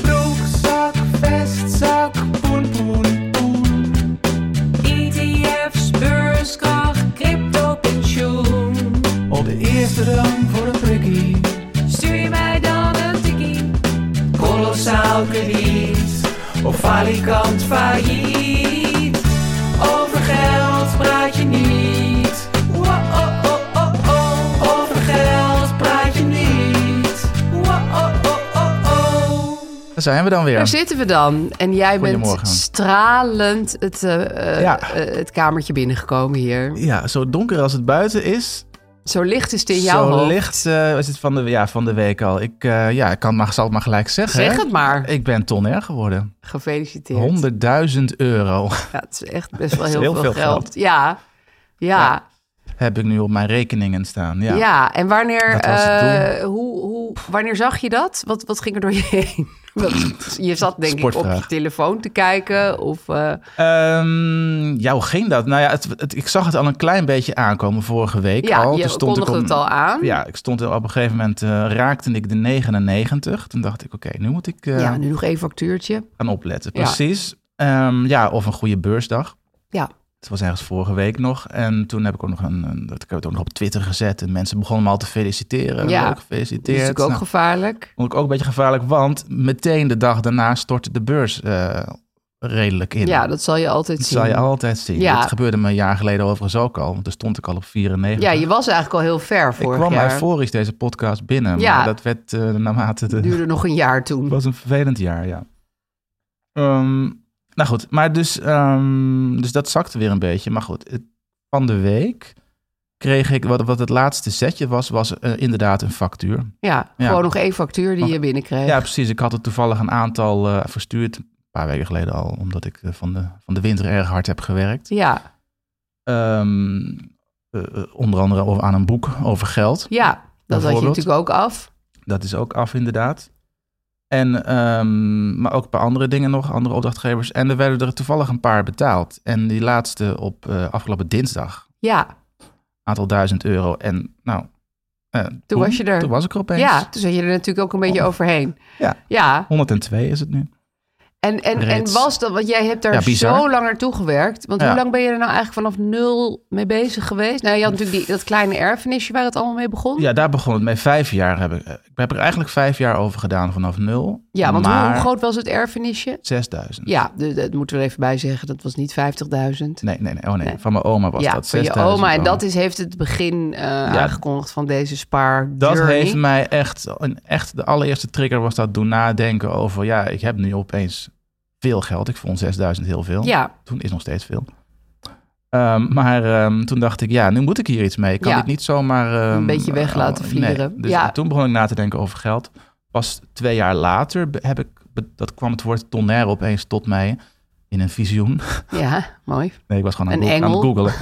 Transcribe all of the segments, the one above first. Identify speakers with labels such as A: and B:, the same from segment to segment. A: Broekzak, vestzak, poen, poen, poen. ETF's, beurskracht, crypto, pensioen. Op de eerste rang voor een prikkie. Stuur je mij dan een tikkie. Kolossaal krediet. Of falikant failliet. Over geld praat je niet. Wa-oh-oh-oh-oh. Over geld praat je niet. Wa-oh-oh-oh-oh.
B: Daar zijn we dan weer.
C: Daar zitten we dan. Ehm, En jij bent
B: Goedemorgen.
C: stralend het, eh, eh,
B: Ja.
C: eh, het kamertje binnengekomen hier.
B: Ja, zo donker als het buiten is,
C: Zo licht is het in jouw
B: zo
C: hoofd.
B: licht eh, is het van de, ja, van de week al. Ik eh, ja, ik kan, maar, zal het maar gelijk zeggen.
C: Zeg
B: hè?
C: het maar.
B: Ik ben tonair geworden.
C: Gefeliciteerd.
B: 100.000 euro
C: Ja, het is echt best wel
B: is
C: heel,
B: heel
C: veel,
B: veel
C: geld.
B: geld.
C: Ja. Ja.
B: heb ik nu op mijn rekeningen staan.
C: Ja.
B: Ja.
C: en wanneer,
B: Dat was het
C: eh, hoe, hoe, wanneer zag je dat? Wat, wat ging er door je heen? Want je zat denk ik op je
B: Sportvraag.
C: telefoon te kijken. Of, eh,
B: Ehm, ja, hoe ging dat? Nou ja, het, het- ik zag het al een klein beetje aankomen vorige week
C: ja,
B: al.
C: je
B: Toen stond ik
C: kondigde
B: op-
C: het al aan.
B: Ja, ik stond op een gegeven moment, eh, raakte ik de 99. Toen dacht ik, oké, nu moet ik eh,
C: Ja, nu nog één factuurtje.
B: gaan opletten.
C: Ja.
B: Precies. Ehm, ja, of een goede beursdag.
C: Ja.
B: Het was ergens vorige week nog. En toen heb ik ook nog een, een- dat ik heb het ook nog op Twitter gezet. En mensen begonnen me al te feliciteren. Ja.
C: Ja.
B: Leuk,
C: Dat is
B: gefeliciteerd.
C: natuurlijk ook
B: Nou,
C: gevaarlijk.
B: vond ik ook een beetje gevaarlijk, want meteen de dag daarna stortte de beurs eh, redelijk in.
C: Ja, dat zal je altijd
B: Dat
C: zien.
B: zal je altijd zien.
C: Ja.
B: Dat gebeurde me een jaar geleden overigens ook al. Want toen stond ik al op 94.
C: Ja, je was eigenlijk al heel ver
B: ik
C: vorig
B: kwam
C: jaar.
B: euforisch deze podcast binnen.
C: Ja.
B: Maar dat werd eh, naarmate de...
C: Het duurde nog een jaar toen.
B: Het was een vervelend jaar, ja. Ehm, nou goed, maar dus, ehm, dus dat zakte weer een beetje. Maar goed, het- van de week kreeg ik, wat, wat het laatste setje was, was eh, inderdaad een factuur.
C: Ja,
B: Ja.
C: gewoon nog één factuur die je binnenkreeg.
B: Ja, precies. Ik had er toevallig een aantal eh, verstuurd, een paar weken geleden al, omdat ik eh, van, de, van de winter erg hard heb gewerkt.
C: ja.
B: Ehm, eh, eh, onder andere over- aan een boek over geld.
C: ja dat had je
B: Bijvoorbeeld.
C: natuurlijk ook af.
B: Dat is ook af, inderdaad. En, ehm, maar ook een paar andere dingen nog, andere opdrachtgevers. En er werden er toevallig een paar betaald. En die laatste op eh, afgelopen dinsdag,
C: Ja,
B: aantal duizend euro. En nou, eh, toen,
C: was je er.
B: Toen was ik er opeens.
C: ja, toen zat je er natuurlijk ook een beetje overheen.
B: Ja.
C: Ja,
B: 102 is het nu.
C: en, en, en
B: Reeds.
C: was dat, want jij hebt daar
B: Ja, bizar.
C: zo lang naartoe gewerkt. Want hoe
B: Ja.
C: lang ben je er nou eigenlijk vanaf nul mee bezig geweest? Nou, je had natuurlijk die, dat kleine erfenisje waar het allemaal mee begon.
B: Ja, daar begon het mee. Vijf jaar heb ik. eh, Ik heb er eigenlijk vijf jaar over gedaan vanaf nul.
C: Ja, want hoe-
B: maar
C: hoe groot was het erfenisje?
B: 6000.
C: Ja, de- dat moeten we er even bij zeggen. Dat was niet 50.000.
B: Nee, nee, nee. Oh nee.
C: Nee.
B: Van mijn oma was
C: ja,
B: dat.
C: voor je
B: 6000
C: oma. En
B: euro.
C: dat is, heeft het begin eh, aangekondigd van deze spaar
B: Dat
C: journey.
B: heeft mij echt, een- echt, de allereerste trigger was dat doen nadenken over, ja, ik heb nu opeens veel geld. Ik vond 6000 heel veel.
C: Ja,
B: Toen is nog steeds veel. Ehm, maar ehm, toen dacht ik, ja, nu moet ik hier iets mee. Ik kan
C: Ja.
B: dit niet zomaar... ehm,
C: Een beetje weg
B: eh,
C: laten
B: nee.
C: vieren.
B: Dus
C: Ja.
B: toen begon ik na te denken over geld. Pas twee jaar later be- heb ik, be- dat kwam het woord tonnerre opeens tot mij in een visioen.
C: ja, mooi.
B: Nee, ik was gewoon aan,
C: Een
B: het go- aan het
C: engel.
B: googelen.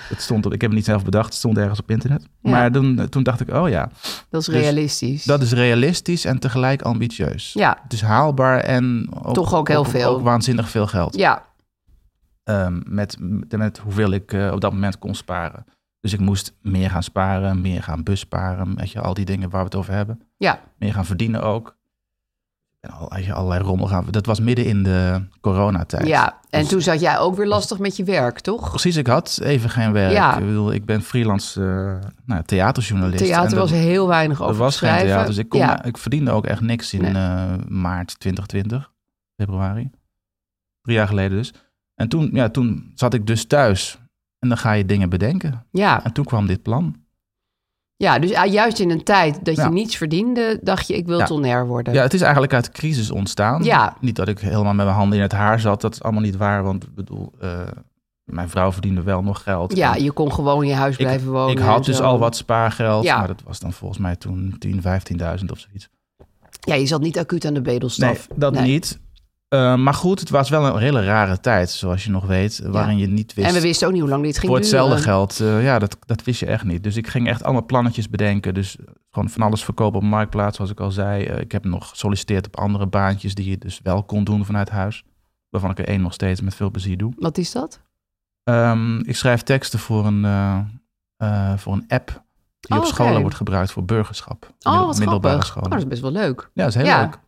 B: het stond op, ik heb het niet zelf bedacht, het stond ergens op internet.
C: Ja.
B: Maar toen, toen dacht ik, oh ja,
C: Dat is
B: Dus
C: realistisch.
B: dat is realistisch en tegelijk ambitieus.
C: Ja,
B: Het is haalbaar en ook,
C: Toch ook heel veel.
B: Ook waanzinnig veel geld.
C: ja,
B: Ehm, met, met hoeveel ik eh, op dat moment kon sparen. Dus ik moest meer gaan sparen, meer gaan bussparen. Weet je, al die dingen waar we het over hebben.
C: ja.
B: Meer gaan verdienen ook. En al, eigenlijk allerlei rommel gaan. Dat was midden in de coronatijd.
C: Ja, en
B: Dus-
C: toen zat jij ook weer lastig met je werk, toch?
B: Precies, ik had even geen werk.
C: Ja.
B: Ik bedoel, ik ben freelance eh, nou, theaterjournalist. En
C: Theater
B: dat-
C: was heel weinig over
B: Er was
C: te
B: geen
C: schrijven.
B: theater, dus ik, kon,
C: ja.
B: ik verdiende ook echt niks in
C: Nee.
B: eh, maart 2020, februari. Drie jaar geleden dus. En toen, ja, toen zat ik dus thuis. En dan ga je dingen bedenken.
C: Ja.
B: En toen kwam dit plan.
C: ja, dus ah, juist in een tijd dat
B: Ja.
C: je niets verdiende, dacht je, ik wil
B: Ja.
C: tonair worden.
B: Ja, het is eigenlijk uit de crisis ontstaan.
C: Ja.
B: Niet dat ik helemaal met mijn handen in het haar zat. Dat is allemaal niet waar, want ik bedoel, eh, mijn vrouw verdiende wel nog geld.
C: Ja,
B: En
C: je kon gewoon in je huis
B: ik,
C: blijven wonen.
B: ik had
C: en
B: dus
C: zo.
B: al wat spaargeld.
C: Ja.
B: Maar dat was dan volgens mij toen 10, 15.000 of zoiets.
C: Ja, je zat niet acuut aan de bedelstaf.
B: Nee, dat
C: Nee.
B: niet. Eh, maar goed, het was wel een hele rare tijd, zoals je nog weet, waarin je niet wist.
C: En we wisten ook niet hoe lang dit ging
B: voor hetzelfde
C: duren.
B: geld, eh, ja, dat, dat wist je echt niet. Dus ik ging echt allemaal plannetjes bedenken. Dus gewoon van alles verkopen op Marktplaats, zoals ik al zei. Eh, ik heb nog gesolliciteerd op andere baantjes die je dus wel kon doen vanuit huis. Waarvan ik er één nog steeds met veel plezier doe.
C: Wat is dat?
B: Ehm, ik schrijf teksten voor een, eh, eh, voor een app die
C: Oh,
B: op scholen
C: oké.
B: wordt gebruikt voor burgerschap.
C: Oh,
B: Middel-
C: wat
B: middelbare
C: grappig.
B: scholen.
C: Oh, dat is best wel leuk.
B: Ja, dat is heel
C: Ja.
B: leuk.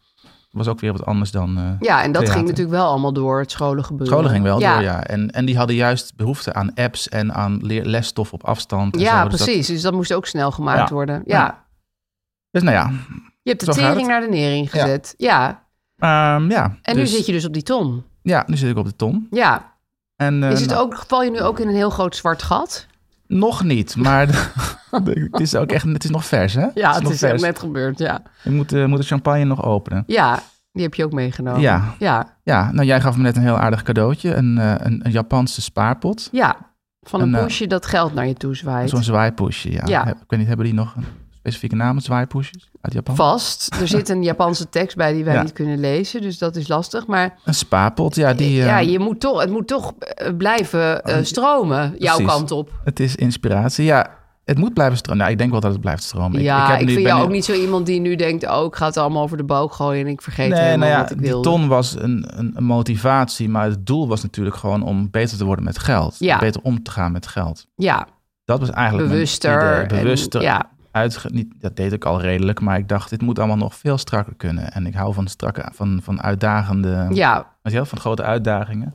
B: Was ook weer wat anders dan... eh,
C: Ja, en dat
B: Theater.
C: ging natuurlijk wel allemaal door het scholen gebeuren.
B: Scholen ging wel door, ja. En, en die hadden juist behoefte aan apps en aan leer, lesstof op afstand. En
C: Ja,
B: zo. Dus dat-
C: precies. Dus dat moest ook snel gemaakt
B: Ja.
C: worden. Ja.
B: Ja. dus nou ja.
C: Je hebt de
B: Zo gaat
C: tering
B: het.
C: naar de nering gezet. Ja.
B: ehm, ja.
C: En
B: Dus-
C: nu zit je dus op die ton.
B: Ja, nu zit ik op de ton.
C: Ja.
B: En, eh,
C: Is het
B: nou,
C: ook, val je nu ook in een heel groot zwart gat?
B: Nog niet, maar het is ook echt, het is nog vers, hè?
C: Ja, het
B: nog
C: is
B: vers.
C: net gebeurd. Ja.
B: Je moet, eh, moet de champagne nog openen.
C: ja, die heb je ook meegenomen.
B: Ja.
C: Ja,
B: Ja, nou jij gaf me net een heel aardig cadeautje. Een, eh, een, een Japanse spaarpot.
C: ja. van een
B: En, eh,
C: poesje dat geld naar je toe zwaait.
B: Zo'n zwaaipoesje, ja.
C: Ja.
B: Heb- Ik weet niet, hebben die nog een specifieke naam, zwaaipoesjes uit Japan?
C: Vast. Er zit een Japanse tekst bij die wij
B: Ja.
C: niet kunnen lezen, dus dat is lastig. Maar
B: een spaarpot, ja. Die, eh,
C: ja, je moet toch, het moet toch eh, blijven eh, stromen, jouw
B: Precies.
C: kant op.
B: Het is inspiratie. Ja, het moet blijven stromen. Nou, ik denk wel dat het blijft stromen.
C: ja, ik,
B: heb nu-
C: vind
B: ben
C: jou
B: nu-
C: ook niet zo iemand die nu denkt... oh, ik ga het allemaal over de boog gooien en ik vergeet
B: Nee,
C: helemaal
B: nou ja,
C: wat ik
B: die
C: wilde.
B: ton was een, een, een motivatie, maar het doel was natuurlijk gewoon om beter te worden met geld.
C: Ja.
B: Beter om te gaan met geld.
C: Ja,
B: Dat was eigenlijk mijn
C: bewuster.
B: idee. Bewuster.
C: En, ja,
B: uitge- niet, dat deed ik al redelijk, maar ik dacht, dit moet allemaal nog veel strakker kunnen. En ik hou van strakke, van, van uitdagende, weet
C: ja,
B: je wel, van grote uitdagingen.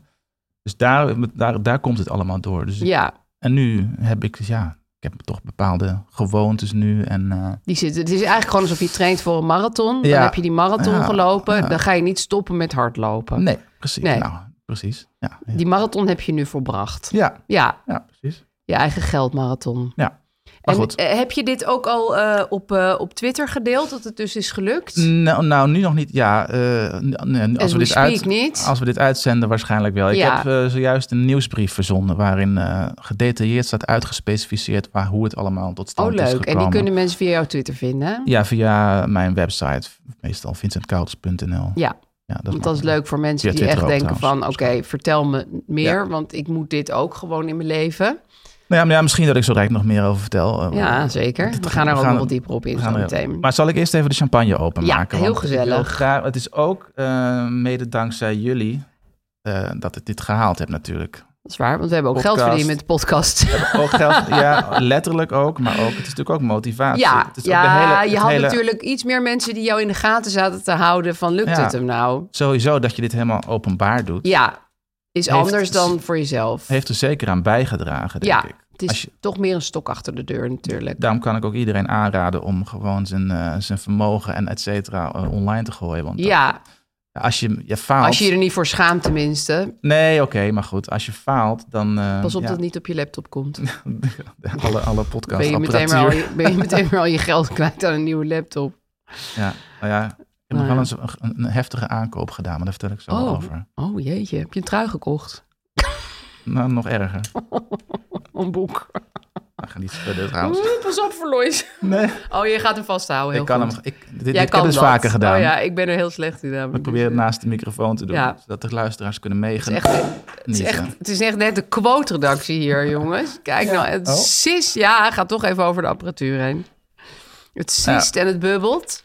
B: Dus daar, daar, daar komt het allemaal door. Dus ik-
C: ja.
B: En nu heb ik, dus ja, ik heb toch bepaalde gewoontes nu en... eh,
C: Die zit, het is eigenlijk gewoon alsof je traint voor een marathon. Dan
B: Ja.
C: heb je die marathon
B: Ja,
C: gelopen.
B: ja.
C: Dan ga je niet stoppen met hardlopen.
B: Nee, precies.
C: Nee.
B: Nou, precies. Ja, ja.
C: Die marathon heb je nu volbracht.
B: ja,
C: Ja,
B: ja, precies.
C: je eigen geldmarathon.
B: Ja. Maar
C: en
B: goed.
C: eh, heb je dit ook al eh, op, eh, op Twitter gedeeld, dat het dus is gelukt?
B: Nou, nou, nu nog niet. Ja, eh, n- n-
C: As
B: als, we
C: we
B: dit
C: speak
B: uit,
C: niet.
B: als we dit uitzenden, waarschijnlijk wel. Ik
C: Ja.
B: heb eh, zojuist een nieuwsbrief verzonden. waarin eh, gedetailleerd staat uitgespecificeerd. Waar, hoe het allemaal tot stand
C: Oh,
B: is
C: leuk.
B: gekomen.
C: En die kunnen mensen via jouw Twitter vinden. hè?
B: Ja, via mijn website. Meestal vincentkouders.nl.
C: Ja.
B: ja dat,
C: Want dat is
B: makkelijk.
C: leuk voor mensen
B: Via
C: die echt
B: Twitter ook
C: denken van...
B: trouwens,
C: oké, vertel me meer, want ik moet dit ook gewoon in mijn leven.
B: Nou ja, maar ja, misschien dat ik zo rijk nog meer over vertel. eh,
C: Ja, zeker.
B: dat
C: We
B: ga-
C: gaan er
B: we
C: ook
B: gaan-
C: nog wat dieper op in
B: We gaan
C: zo
B: er-
C: meteen.
B: Maar zal ik eerst even de champagne openmaken?
C: Ja, heel
B: Want ik wil
C: gezellig.
B: graag- het is ook eh, mede dankzij jullie eh, dat ik dit gehaald heb natuurlijk.
C: Dat is waar, want we hebben ook geld
B: Podcast.
C: verdiend met de podcast.
B: Ook geld, ja, letterlijk ook, maar ook, het is natuurlijk ook motivatie.
C: ja,
B: het is ook
C: ja
B: de hele-
C: je
B: het
C: had
B: hele-
C: natuurlijk iets meer mensen die jou in de gaten zaten te houden van lukt
B: Ja.
C: het hem nou?
B: Sowieso dat je dit helemaal openbaar doet,
C: Ja, is
B: Heeft-
C: anders dan voor jezelf.
B: heeft er zeker aan bijgedragen, denk
C: ja,
B: ik.
C: het is
B: Als je-
C: toch meer een stok achter de deur natuurlijk.
B: Daarom kan ik ook iedereen aanraden om gewoon zijn, eh, zijn vermogen en et cetera eh, online te gooien. Want dat-
C: ja,
B: als je, je faalt...
C: als je je er niet voor schaamt tenminste.
B: Nee, oké, maar goed. Als je faalt, dan... eh,
C: Pas op
B: ja.
C: dat het niet op je laptop komt.
B: alle, alle
C: Ben je, meteen
B: podcastapparatuur.
C: maar al je, ben je meteen maar al je geld kwijt aan een nieuwe laptop.
B: Ja, nou ja, ik heb nog wel eens een, een heftige aankoop gedaan, maar daar vertel ik zo
C: Oh.
B: over.
C: Oh jeetje, heb je een trui gekocht?
B: Nou, nog erger.
C: Een boek.
B: Nou, ga niet verder trouwens.
C: Oeh, Pas op, Verlois.
B: Nee,
C: Oh, je gaat hem vasthouden. Heel
B: ik kan hem...
C: goed.
B: Ik, dit dit
C: Jij
B: heb ik dus
C: dat.
B: vaker gedaan.
C: Oh ja, ik ben er heel slecht in.
B: Ik probeer het naast de microfoon te doen,
C: Ja.
B: zodat de luisteraars kunnen
C: Het is
B: meegen.
C: echt, het is echt, het is echt net de quote-redactie hier, jongens. Kijk nou, het
B: Oh.
C: sist. Ja, gaat toch even over de apparatuur heen. Het sist en het bubbelt.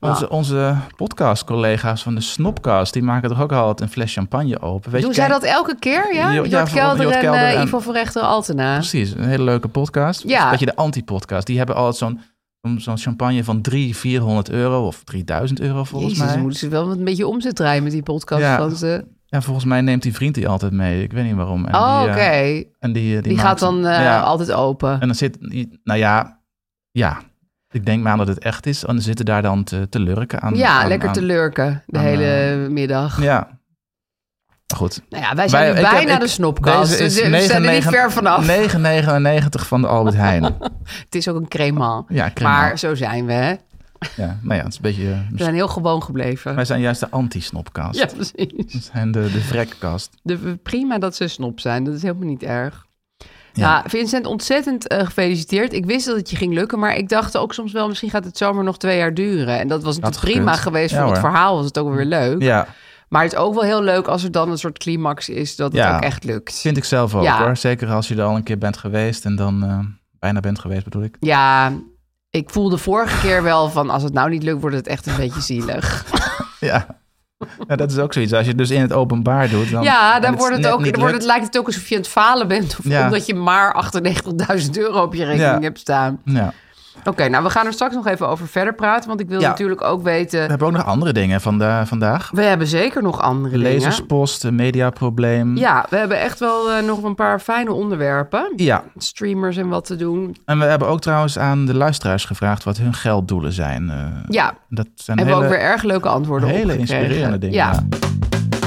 B: Onze, onze
C: Ah.
B: podcastcollega's van de Snopcast, die maken toch ook altijd een fles champagne open. Weet
C: Doen
B: je,
C: zij
B: kijk-
C: dat elke keer? Ja,
B: Jo- ja,
C: Jort
B: voor-
C: Kelder
B: Jort
C: en
B: Kelder
C: eh,
B: en-
C: Ivo van Rechter Altena.
B: Precies, een hele leuke podcast.
C: Ja.
B: Dat je de anti-podcast, die hebben altijd zo'n Zo'n- Zo'n champagne van 300, 400 euro of 3000 euro volgens
C: Jezus,
B: mij.
C: moeten ze wel een beetje omzet draaien met die podcast.
B: Ja.
C: want, eh,
B: Ja, volgens mij neemt die vriend die altijd mee. Ik weet niet waarom. En
C: oh,
B: die,
C: oké.
B: eh, en die, eh, die,
C: Die,
B: maakt-
C: gaat dan eh,
B: Ja.
C: altijd open.
B: En dan zit, nou ja, ja. Ik denk maar aan dat het echt is. En dan zitten daar dan te, te lurken aan.
C: ja,
B: aan-
C: lekker
B: aan-
C: te lurken de
B: aan,
C: hele middag.
B: Ja. Maar goed.
C: Nou ja, wij zijn
B: eh, Wij-
C: nu
B: ik heb-
C: bijna
B: ik-
C: de snopkast.
B: deze
C: Dus
B: is
C: we zijn er
B: 99
C: niet ver vanaf.
B: 9,99 van de Albert Heijn.
C: Het is ook een crema.
B: Ja, crema.
C: Maar zo zijn we, hè.
B: Ja, nou ja, het is een beetje... eh,
C: We zijn heel gewoon gebleven.
B: Wij zijn juist de anti-snopkast.
C: Ja, precies.
B: We zijn de, de vrekkast.
C: De, prima dat ze snop zijn. Dat is helemaal niet erg.
B: Ja.
C: Ja, Vincent, ontzettend eh, gefeliciteerd. Ik wist dat het je ging lukken, maar ik dacht ook soms wel... misschien gaat het zomer nog twee jaar duren. En dat was natuurlijk prima
B: gekund.
C: geweest
B: Ja,
C: voor het
B: hoor.
C: verhaal. Was het ook weer leuk.
B: Ja,
C: Maar het is ook wel heel leuk als er dan een soort climax is... dat het
B: Ja.
C: ook echt lukt.
B: vind ik zelf ook
C: Ja.
B: hoor. Zeker als je er al een keer bent geweest en dan eh, bijna bent geweest bedoel ik.
C: Ja, ik voelde vorige keer wel van... als het nou niet lukt, wordt het echt een beetje zielig.
B: Ja. ja, dat is ook zoiets. Als je het dus in het openbaar doet, dan...
C: Ja,
B: en
C: dan, wordt het
B: net
C: ook,
B: niet
C: dan wordt het,
B: lukt-
C: lijkt het ook alsof je aan het falen bent. Of
B: Ja.
C: omdat je maar 98.000 euro op je rekening
B: Ja.
C: hebt staan.
B: Ja.
C: Oké, nou we gaan er straks nog even over verder praten. Want ik wil
B: Ja.
C: natuurlijk ook
B: We
C: weten...
B: hebben ook nog andere dingen vanda vandaag.
C: We hebben zeker nog andere dingen.
B: Lezerspost, een mediaprobleem.
C: Ja, we hebben echt wel eh, nog een paar fijne onderwerpen.
B: ja.
C: Streamers en wat te doen.
B: En we hebben ook trouwens aan de luisteraars gevraagd wat hun gelddoelen zijn. Eh,
C: Ja,
B: Dat zijn
C: hebben we ook
B: hele-
C: weer erg leuke antwoorden op
B: Hele
C: gekregen.
B: inspirerende dingen.
C: Ja.
B: ja.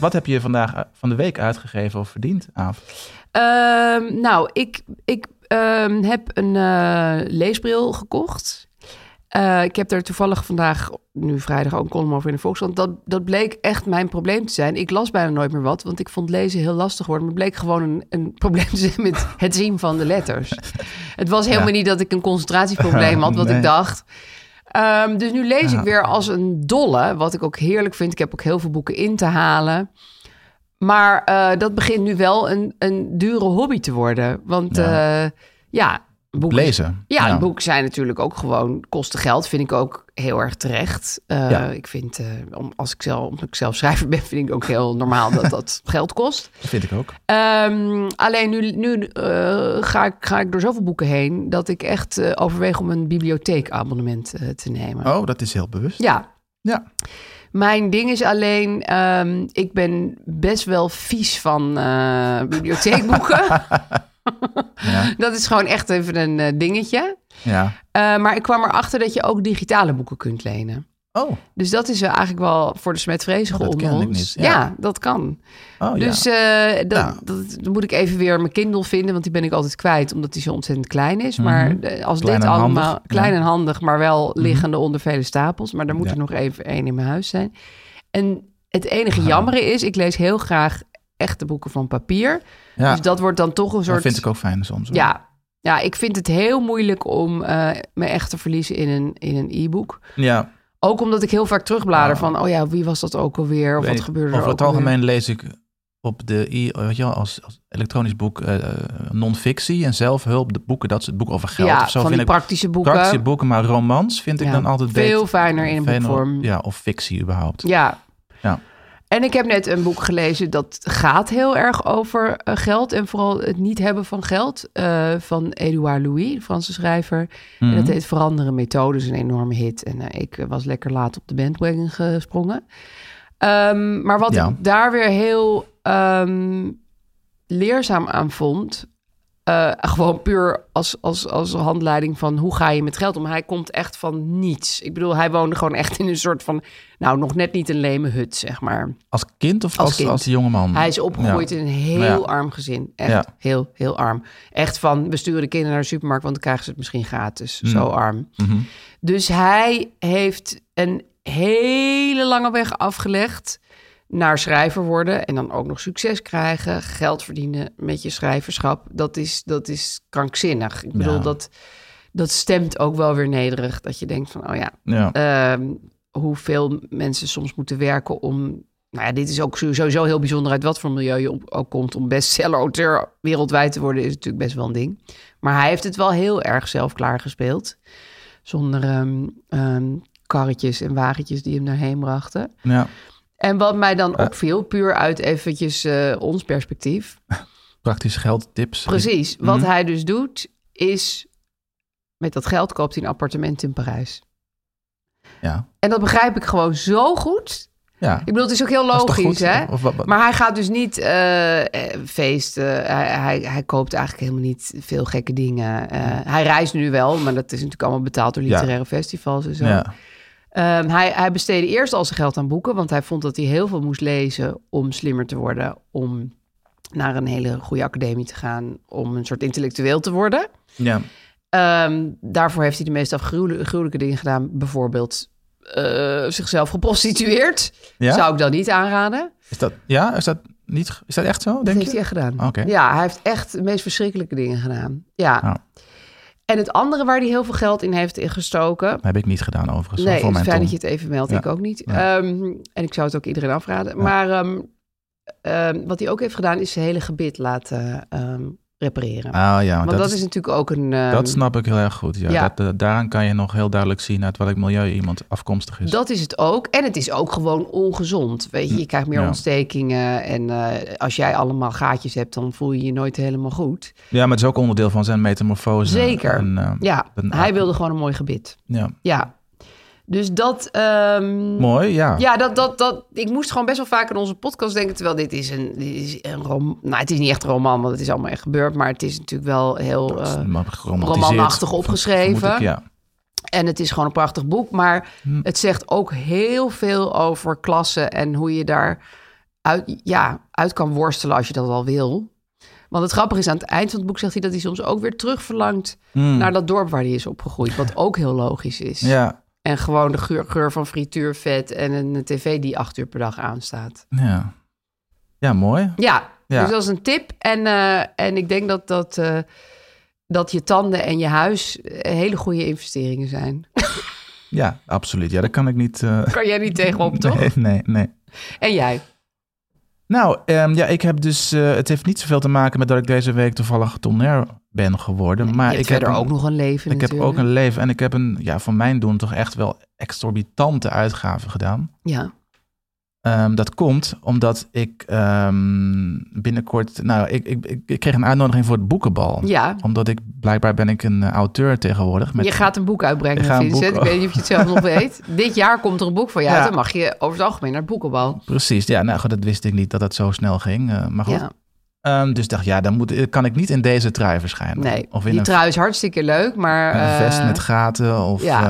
B: Wat heb je vandaag eh, van de week uitgegeven of verdiend, Aaf?
C: Ehm, nou, ik, ik ehm, heb een eh, leesbril gekocht. Eh, ik heb er toevallig vandaag, nu vrijdag, ook een column over in de Volkskrant. Dat, dat bleek echt mijn probleem te zijn. Ik las bijna nooit meer wat, want ik vond lezen heel lastig worden. Maar het bleek gewoon een, een probleem te zijn met het zien van de letters. Het was helemaal
B: Ja.
C: niet dat ik een concentratieprobleem had, wat
B: Nee.
C: ik dacht. Ehm, dus nu lees
B: Ja.
C: ik weer als een dolle, wat ik ook heerlijk vind. Ik heb ook heel veel boeken in te halen. Maar eh, dat begint nu wel een, een dure hobby te worden. Want ja,
B: Ja.
C: ja boeken.
B: Lezen. Nou,
C: Ja, boeken zijn natuurlijk ook gewoon kosten geld. Vind ik ook heel erg terecht. Eh,
B: Ja.
C: Ik vind, eh, om, als ik zelf, omdat ik zelf schrijver ben, vind ik ook heel normaal dat dat geld kost.
B: Dat vind ik ook.
C: Ehm, alleen nu, nu eh, ga, ik, ga ik door zoveel boeken heen dat ik echt eh, overweeg om een bibliotheekabonnement eh, te nemen.
B: Oh, dat is heel bewust.
C: Ja,
B: Ja.
C: mijn ding is alleen, ehm, ik ben best wel vies van eh, bibliotheekboeken.
B: Ja.
C: dat is gewoon echt even een eh, dingetje.
B: ja.
C: Eh, maar ik kwam erachter dat je ook digitale boeken kunt lenen.
B: Oh, oh
C: Dus dat is eh, eigenlijk wel voor de smetvreesige
B: Dat
C: onder
B: kende ik
C: ons.
B: niet,
C: Ja.
B: ja.
C: dat kan.
B: Oh, ja.
C: dus eh, dat,
B: Nou.
C: dat, dan moet ik even weer mijn Kindle vinden, want die ben ik altijd kwijt, omdat die zo ontzettend klein is. Maar
B: Mhm.
C: eh, als
B: Klein
C: dit
B: en
C: allemaal
B: handig,
C: klein
B: ja. Mhm.
C: en handig, maar wel liggende onder vele stapels. Maar daar moet
B: Ja.
C: er nog even één in mijn huis zijn. En het enige
B: Ah.
C: jammere is, ik lees heel graag echte boeken van papier.
B: ja.
C: Dus dat wordt dan toch een soort.
B: dat vind ik ook fijn soms. hoor.
C: Ja. ja, ik vind het heel moeilijk om eh, me echt te verliezen in een, in een e-book.
B: ja.
C: Ook omdat ik heel vaak terugblader
B: Ja.
C: van, oh ja, wie was dat ook alweer? Of
B: Ah. Weet
C: wat
B: ik.
C: gebeurde er
B: Over
C: ook
B: het
C: alweer?
B: algemeen lees ik op de i, weet je wel, als, als elektronisch boek eh non-fictie en zelfhulp, de boeken, dat soort boeken over geld
C: ja,
B: of zo.
C: van
B: vind
C: die
B: ik
C: praktische boeken.
B: praktische boeken, maar romans vind ik
C: Ja,
B: dan altijd
C: veel
B: beter.
C: fijner in een
B: Veel-
C: boekvorm.
B: Ja, of fictie überhaupt.
C: Ja.
B: Ja.
C: En ik heb net een boek gelezen dat gaat heel erg over eh, geld en vooral het niet hebben van geld eh, van Edouard Louis, een Franse schrijver.
B: Mhm.
C: En dat heet Veranderen Methodes, een enorme hit. En eh, ik was lekker laat op de bandwagon gesprongen. Ehm, maar wat
B: Ja.
C: ik daar weer heel ehm, leerzaam aan vond, eh, gewoon puur als, als, als handleiding van hoe ga je met geld om. Hij komt echt van niets. Ik bedoel, hij woonde gewoon echt in een soort van, nou, nog net niet een leme hut, zeg maar.
B: Als kind of
C: Als
B: als, als,
C: kind.
B: jongeman?
C: Hij is opgegroeid
B: Ja.
C: in een heel
B: Ja.
C: arm gezin. Echt
B: Ja.
C: heel, heel arm. Echt van, we sturen de kinderen naar de supermarkt, want dan krijgen ze het misschien gratis.
B: Mm.
C: Zo arm.
B: Mhm.
C: Dus hij heeft een hele lange weg afgelegd naar schrijver worden en dan ook nog succes krijgen, geld verdienen met je schrijverschap. Dat is, dat is krankzinnig. Ik bedoel,
B: Ja.
C: dat, dat stemt ook wel weer nederig. Dat je denkt van, oh ja,
B: Ja.
C: ehm, hoeveel mensen soms moeten werken om... Nou ja, dit is ook sowieso heel bijzonder uit wat voor milieu je op- ook komt. Om bestseller-auteur wereldwijd te worden is natuurlijk best wel een ding. Maar hij heeft het wel heel erg zelf klaargespeeld. Zonder ehm, ehm, karretjes en wagentjes die hem daarheen brachten.
B: ja,
C: En wat mij dan
B: Eh.
C: opviel, puur uit eventjes eh, ons perspectief.
B: praktisch geldtips.
C: Precies, wat
B: Mhm.
C: hij dus doet is Met dat geld koopt hij een appartement in Parijs.
B: Ja.
C: En dat begrijp ik gewoon zo goed.
B: ja.
C: Ik bedoel, het is ook heel
B: Dat is toch
C: logisch,
B: goed?
C: hè?
B: Of wat- wat-
C: Maar hij gaat dus niet eh, eh, feesten. Hij, hij, hij koopt eigenlijk helemaal niet veel gekke dingen. Eh, hij reist nu wel, maar dat is natuurlijk allemaal betaald door
B: Ja.
C: literaire festivals en zo.
B: ja.
C: Ehm, hij, hij besteedde eerst al zijn geld aan boeken, want hij vond dat hij heel veel moest lezen om slimmer te worden, om naar een hele goede academie te gaan, om een soort intellectueel te worden.
B: ja.
C: Ehm, daarvoor heeft hij de meest afgruwelijke gruwelijke dingen gedaan, bijvoorbeeld eh, zichzelf geprostitueerd.
B: Ja?
C: Zou ik dan niet aanraden.
B: Is dat, ja, is dat niet, is dat echt zo,
C: Dat
B: denk
C: heeft
B: je?
C: hij echt gedaan.
B: Oké.
C: Ja, hij heeft echt de meest verschrikkelijke dingen gedaan. Ja.
B: Nou.
C: En het andere waar hij heel veel geld in heeft gestoken.
B: Dat heb ik niet gedaan overigens, hoor,
C: Nee,
B: voor
C: het
B: mijn
C: is fijn dat
B: Tom.
C: je het even meldt.
B: Ja.
C: Ik ook niet.
B: Ja.
C: Ehm, en ik zou het ook iedereen afraden. Maar ehm, ehm, wat hij ook heeft gedaan, is zijn hele gebit laten ehm, repareren.
B: Ah ja, maar
C: Want dat,
B: dat,
C: is,
B: is,
C: natuurlijk ook een. ehm,
B: dat snap ik heel erg goed. Ja.
C: ja.
B: Dat, eh, daaraan kan je nog heel duidelijk zien uit welk milieu iemand afkomstig is.
C: Dat is het ook. En het is ook gewoon ongezond. Weet je, je krijgt meer
B: Ja.
C: ontstekingen. En eh, als jij allemaal gaatjes hebt, dan voel je je nooit helemaal goed.
B: Ja, maar het is ook onderdeel van zijn metamorfose.
C: Zeker.
B: En, eh,
C: Ja,
B: Een-
C: hij wilde gewoon een mooi gebit.
B: ja.
C: Ja. Dus dat. ehm,
B: Mooi, ja.
C: ja, dat, dat, dat, ik moest gewoon best wel vaak aan onze podcast denken. Terwijl dit is een, dit is een rom. Nou, het is niet echt een roman, want het is allemaal echt gebeurd. Maar het is natuurlijk wel heel.
B: Dat is
C: eh,
B: maar geromantiseerd,
C: romanachtig
B: vermoed
C: opgeschreven.
B: ik, ja.
C: en het is gewoon een prachtig boek. Maar
B: Hm.
C: het zegt ook heel veel over klassen en hoe je daar uit, ja, uit kan worstelen als je dat al wil. Want het grappige is, aan het eind van het boek zegt hij dat hij soms ook weer terug verlangt
B: Hm.
C: naar dat dorp waar hij is opgegroeid. Wat ook heel logisch is.
B: Ja,
C: En gewoon de geur, geur van frituurvet en een tv die acht uur per dag aanstaat.
B: ja. Ja, mooi.
C: Ja,
B: Ja.
C: dus dat is een tip. En, eh, en ik denk dat, dat, eh, dat je tanden en je huis eh, hele goede investeringen zijn.
B: Ja, absoluut. Ja, daar kan ik niet... eh,
C: Kan jij niet tegenop, toch?
B: Nee, nee, nee.
C: En jij?
B: Nou, ehm, ja, ik heb dus... eh, het heeft niet zoveel te maken met dat ik deze week toevallig tonair ben geworden. Maar
C: je hebt
B: ik
C: verder
B: heb een-
C: ook nog een leven
B: Ik heb
C: natuurlijk.
B: ook een leven en ik heb een, ja, voor mijn doen toch echt wel exorbitante uitgaven gedaan.
C: Ja,
B: Ehm, dat komt omdat ik ehm, binnenkort, nou, ik, ik, ik, ik kreeg een uitnodiging voor het boekenbal.
C: ja.
B: Omdat ik, blijkbaar ben ik een eh, auteur tegenwoordig. Met,
C: je gaat een boek uitbrengen,
B: Ik ga een boek-
C: Vincent. Ik weet niet of je het zelf nog weet. Dit jaar komt er een boek van jou.
B: Ja.
C: Dan mag je over het algemeen naar het boekenbal.
B: Precies, ja, nou goed, dat wist ik niet dat dat zo snel ging. eh, maar goed.
C: Ja,
B: Ehm, dus dacht, ja, dan moet, kan ik niet in deze trui verschijnen.
C: nee.
B: Of in
C: Die
B: een,
C: trui is hartstikke leuk, maar...
B: een
C: eh,
B: vest met gaten of
C: ja.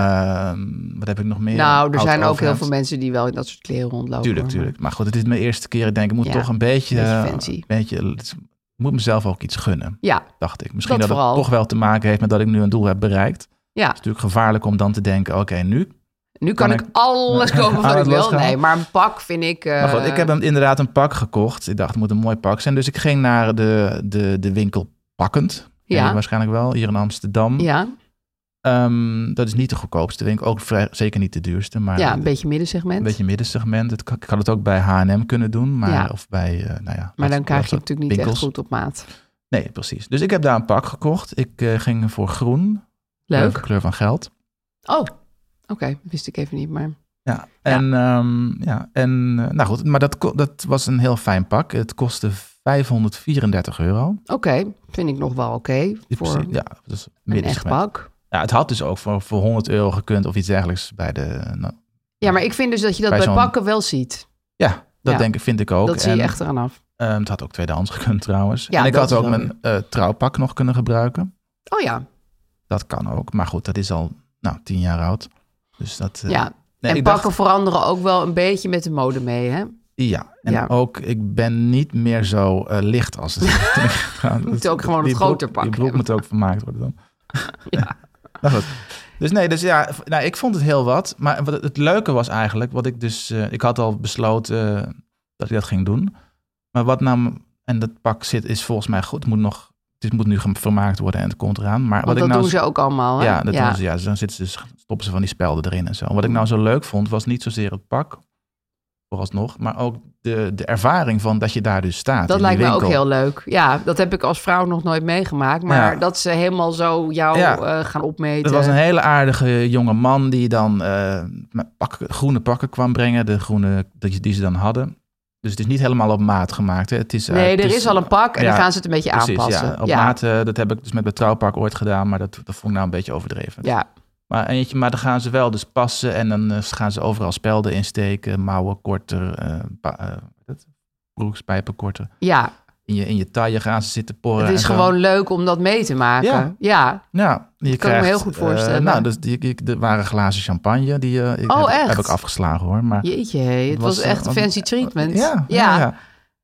B: ehm, wat heb ik nog meer?
C: Nou, er
B: Oud
C: zijn ook heel
B: overhemd.
C: veel mensen die wel in dat soort kleren rondlopen.
B: Tuurlijk,
C: hoor,
B: tuurlijk. Maar goed, het is mijn eerste keer. Ik denk, ik moet
C: Ja,
B: toch een beetje...
C: beetje
B: eh,
C: fancy.
B: beetje het is- ik moet mezelf ook iets gunnen,
C: maar- Ja,
B: dacht ik. Misschien
C: Dat
B: dat, het
C: vooral.
B: toch wel te maken heeft met dat ik nu een doel heb bereikt. Het
C: ja.
B: is natuurlijk gevaarlijk om dan te denken, oké, nu.
C: Nu kan,
B: Kan
C: ik, alles kopen wat ik
B: alles
C: wil.
B: losgaan?
C: Nee, maar een pak vind ik... eh,
B: Maar goed, ik heb hem inderdaad een pak gekocht. Ik dacht, het moet een mooi pak zijn. Dus ik ging naar de, de, de winkel Pakkend. Ken je
C: Ja,
B: Waarschijnlijk wel, hier in Amsterdam.
C: ja,
B: Ehm, dat is niet de goedkoopste winkel. Ook vrij, zeker niet de duurste. Maar
C: ja, een beetje middensegment.
B: een beetje middensegment. Het, kan- ik had het ook bij H&M kunnen doen. Maar,
C: Ja.
B: Of bij, eh, nou ja.
C: maar
B: dat-
C: dan krijg
B: dat
C: je
B: soort
C: het natuurlijk niet
B: winkels.
C: echt goed op maat.
B: Nee, precies. Dus ik heb daar een pak gekocht. Ik eh, ging voor groen, kleur-
C: Leuk.
B: kleur van geld.
C: Oh, oké. Wist ik even niet, maar...
B: Ja, en, ehm, ja, en eh, nou goed, maar dat, ko- dat was een heel fijn pak. Het kostte 534 euro.
C: Oké, vind ik nog wel oké voor
B: Precies, ja, dus
C: een echt
B: middensegment.
C: pak.
B: Ja, het had dus ook voor, voor 100 euro gekund of iets dergelijks bij de. nou,
C: Ja, maar ik vind dus dat je dat
B: Bij
C: bij,
B: zo'n-
C: pakken wel ziet.
B: ja, dat
C: Ja,
B: denk ik, vind ik ook.
C: dat zie je
B: En,
C: echt eraan af.
B: ehm, het had ook tweedehands gekund trouwens.
C: Ja,
B: en ik
C: dat
B: had
C: is
B: ook
C: wel
B: mijn eh, trouwpak nog kunnen gebruiken.
C: Oh ja,
B: Dat kan ook. Maar goed, dat is al nou, tien jaar oud. Dus dat. eh,
C: ja.
B: nee,
C: en
B: ik
C: pakken
B: dacht-
C: veranderen ook wel een beetje met de mode mee, hè?
B: Ja, en
C: Ja.
B: ook ik ben niet meer zo eh, licht als het. toen ik gegaan-
C: moet ook gewoon
B: die
C: het
B: broek-
C: groter pak
B: Die broek
C: hebben.
B: moet ook vermaakt worden dan.
C: Ja.
B: Nou goed. Dus nee, dus ja, v- nou, ik vond het heel wat. Maar wat het- het leuke was eigenlijk, wat ik dus, eh, ik had al besloten eh, dat ik dat ging doen. Maar wat nou, m- en dat pak zit, is volgens mij goed. Het moet nog, dit moet nu gem- vermaakt worden en het komt eraan. Maar wat
C: Want
B: ik
C: dat
B: nou
C: doen ze ook allemaal, hè?
B: ja, dat Doen ze, ja, dan zitten ze, dus- stoppen ze van die spelden erin en zo. Wat ik nou zo leuk vond, was niet zozeer het pak, vooralsnog, maar ook de, de ervaring van dat je daar dus staat.
C: Dat
B: in die
C: lijkt me ook
B: winkel.
C: heel leuk. Ja, dat heb ik als vrouw nog nooit meegemaakt. Maar
B: Ja.
C: dat ze helemaal zo jou
B: Ja.
C: eh, gaan opmeten.
B: Dat was een hele aardige jonge man die dan eh, met pakken- groene pakken kwam brengen, de groene die, die ze dan hadden. Dus het is niet helemaal op maat gemaakt. Hè. Het is, eh,
C: Nee,
B: het
C: er is al een pak en
B: ja,
C: dan gaan ze het een beetje
B: precies,
C: aanpassen.
B: Ja, op
C: ja.
B: maat, eh, dat heb ik dus met mijn trouwpak ooit gedaan, maar dat, dat vond ik nou een beetje overdreven.
C: ja.
B: Maar, eentje, maar dan gaan ze wel dus passen en dan eh, gaan ze overal spelden insteken, mouwen korter, eh ba- eh, dat, broekspijpen korter.
C: ja.
B: In je, in je taille gaan ze zitten porren.
C: Het is
B: en zo.
C: gewoon leuk om dat mee te maken.
B: eh, Ja.
C: Ja,
B: Ja, je
C: me
B: krijgt,
C: heel goed
B: eh,
C: voorstellen.
B: nou, dus die, die, er waren glazen champagne. Die eh, ik-
C: Oh,
B: heb,
C: echt?
B: heb ik afgeslagen hoor. Maar,
C: jeetje. hé. Het
B: Het
C: was,
B: was, eh,
C: echt een
B: want-
C: fancy treatment.
B: Ja, ja. ja.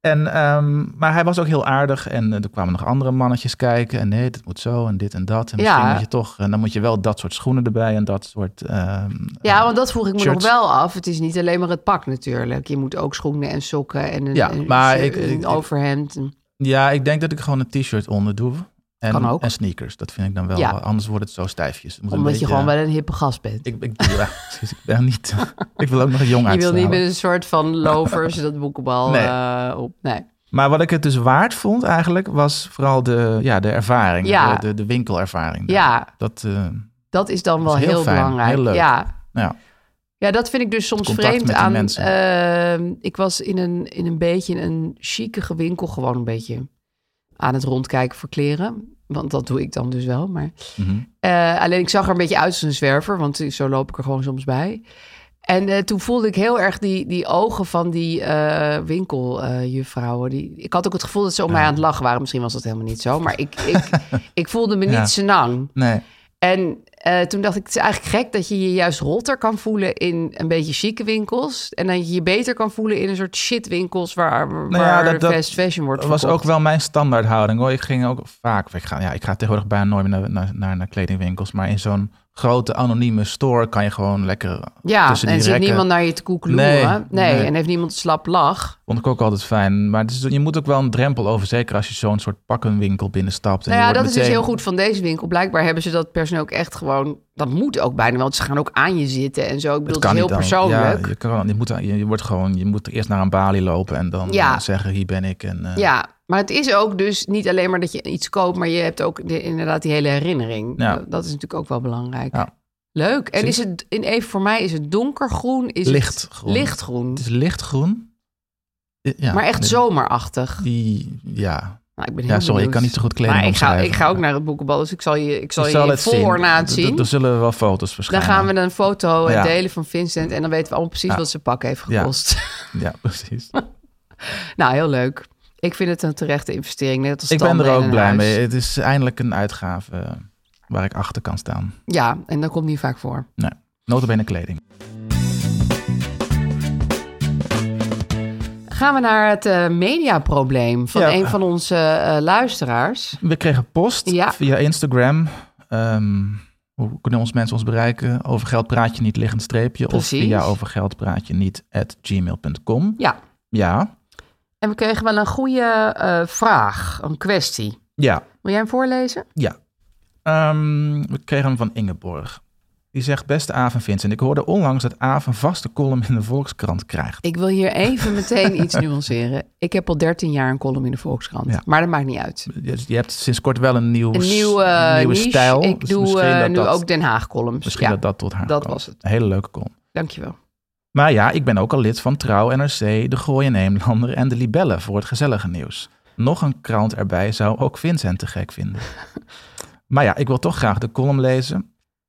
B: En, ehm, maar hij was ook heel aardig. En eh, er kwamen nog andere mannetjes kijken. En nee, dit moet zo en dit en dat. En misschien
C: Ja.
B: moet je toch... En dan moet je wel dat soort schoenen erbij en dat soort... ehm,
C: Ja, want dat vroeg ik me
B: Shirts.
C: nog wel af. Het is niet alleen maar het pak natuurlijk. Je moet ook schoenen en sokken en een,
B: Ja,
C: een
B: maar
C: shirt-
B: ik- ik-
C: een
B: ik-
C: overhemd.
B: Ja, ik denk dat ik gewoon een t-shirt onder doe. En,
C: Kan ook.
B: en sneakers, dat vind ik dan wel. eh,
C: Ja.
B: Anders wordt het zo stijfjes. Het moet een
C: Omdat je
B: beetje-
C: gewoon wel een hippe gast bent.
B: Ik, ik, ja, precies, ik ben niet... ik wil ook nog een jong
C: je wil niet
B: uitstralen.
C: met een soort van lovers dat boekenbal
B: Nee.
C: eh, op. Nee.
B: Maar wat ik het dus waard vond eigenlijk... was vooral de, ja, de ervaring.
C: Ja.
B: De, de, de winkelervaring.
C: Ja,
B: Dat, eh,
C: dat is dan
B: Dat
C: wel
B: is
C: heel,
B: heel fijn,
C: belangrijk.
B: heel leuk.
C: Ja.
B: ja.
C: Ja, dat vind ik dus soms
B: contact met
C: vreemd
B: die
C: aan.
B: mensen.
C: ehm, ik was in een, in een beetje een chique winkel gewoon een beetje aan het rondkijken voor kleren. Want dat doe ik dan dus wel. Maar,
B: Mhm.
C: eh, alleen ik zag er een beetje uit als een zwerver, want zo loop ik er gewoon soms bij. En eh, toen voelde ik heel erg die, die ogen van die eh, winkeljuffrouwen. die ik had ook het gevoel dat ze op mij aan het lachen waren. Misschien was dat helemaal niet zo, maar ik, ik, ik voelde me niet
B: Ja.
C: senang.
B: Nee.
C: En eh, toen dacht ik, het is eigenlijk gek dat je je juist rotter kan voelen in een beetje chique winkels. En dat je je beter kan voelen in een soort shitwinkels waar, waar
B: Nou ja, dat- dat
C: fast fashion wordt
B: Dat was ook
C: verkocht.
B: wel mijn standaardhouding hoor. Ik ging ook vaak, ik ga, ja, ik ga tegenwoordig bijna nooit meer naar, naar, naar, naar kledingwinkels. Maar in zo'n grote anonieme store kan je gewoon lekker
C: Ja, en
B: tussen die
C: zit
B: rekken.
C: niemand naar je te koekeloeren.
B: Nee,
C: Nee,
B: nee.
C: en heeft niemand een slap lach.
B: Vond ik ook altijd fijn. Maar het is, je moet ook wel een drempel over, zeker als je zo'n soort pakkenwinkel binnenstapt. en
C: Nou
B: je
C: ja,
B: wordt
C: dat is dus
B: meteen-
C: heel goed van deze winkel. Blijkbaar hebben ze dat personeel ook echt gewoon... Dat moet ook bijna, want ze gaan ook aan je zitten en zo. Ik bedoel,
B: Het
C: het, is heel
B: niet dan.
C: persoonlijk.
B: Ja,
C: Ja,
B: je, kan, je, moet, je, je wordt gewoon, je moet eerst naar een balie lopen en dan
C: Ja.
B: eh, zeggen hier ben ik. En, eh,
C: maar het is ook dus niet alleen maar dat je iets koopt... maar je hebt ook de- inderdaad die hele herinnering.
B: Ja.
C: Dat- Dat is natuurlijk ook wel belangrijk.
B: Ja.
C: Leuk. En
B: Precies.
C: is het in even voor mij is het donkergroen? Is
B: Lichtgroen.
C: Het lichtgroen.
B: Het is lichtgroen. Ja,
C: maar echt
B: dit-
C: zomerachtig.
B: Die, ja,
C: Nou, ik ben heel
B: ja, sorry, ik
C: benieuwd.
B: kan niet zo goed kleding
C: Maar ik ga,
B: omschrijven.
C: ik ga ook naar het boekenbal, dus ik zal je, ik zal
B: Ik
C: je,
B: zal
C: je
B: het
C: vol
B: zien.
C: ornaat
B: D- d-
C: zien.
B: Er zullen wel foto's
C: Dan
B: verschijnen.
C: gaan we een foto eh,
B: Ja.
C: delen van Vincent en dan weten we allemaal precies
B: Ja.
C: wat zijn pak heeft
B: Ja.
C: gekost.
B: Ja, precies.
C: nou, heel leuk. Ik vind het een terechte investering, net als
B: ik ben
C: tanden
B: er
C: en
B: ook
C: een
B: blij
C: huis.
B: mee. Het is eindelijk een uitgave eh, waar ik achter kan staan.
C: Ja, en dat komt niet vaak voor.
B: Nee, notabene kleding.
C: Gaan we naar het eh, mediaprobleem van
B: Ja.
C: een van onze eh, luisteraars.
B: We kregen post
C: Ja.
B: via Instagram. Ehm, hoe kunnen ons mensen ons bereiken? Over geld praat je niet, liggend streepje. Of
C: Precies.
B: via over geld praat je niet at gmail.com.
C: Ja,
B: Ja,
C: en we kregen wel een goede eh, vraag, een kwestie.
B: ja.
C: Wil jij hem voorlezen?
B: Ja. Ehm, we kregen hem van Ingeborg. Die zegt, beste Aaf en Vincent, ik hoorde onlangs dat Aaf een vaste column in de Volkskrant krijgt.
C: Ik wil hier even meteen iets nuanceren. Ik heb al 13 jaar een column in de Volkskrant,
B: Ja.
C: maar dat maakt niet uit.
B: Je, je hebt sinds kort wel een, nieuw,
C: Een nieuwe, eh,
B: nieuwe
C: niche.
B: stijl.
C: Ik
B: Dus
C: doe
B: misschien
C: eh,
B: dat
C: nu
B: dat-
C: ook Den Haag columns.
B: Misschien
C: ja,
B: dat dat tot haar
C: dat
B: kwam.
C: was het.
B: Een hele leuke kom.
C: dankjewel.
B: Maar ja, ik ben ook al lid van Trouw, NRC, De Gooie Neemlander en De Libelle voor het gezellige nieuws. Nog een krant erbij zou ook Vincent te gek vinden. maar ja, ik wil toch graag de column lezen.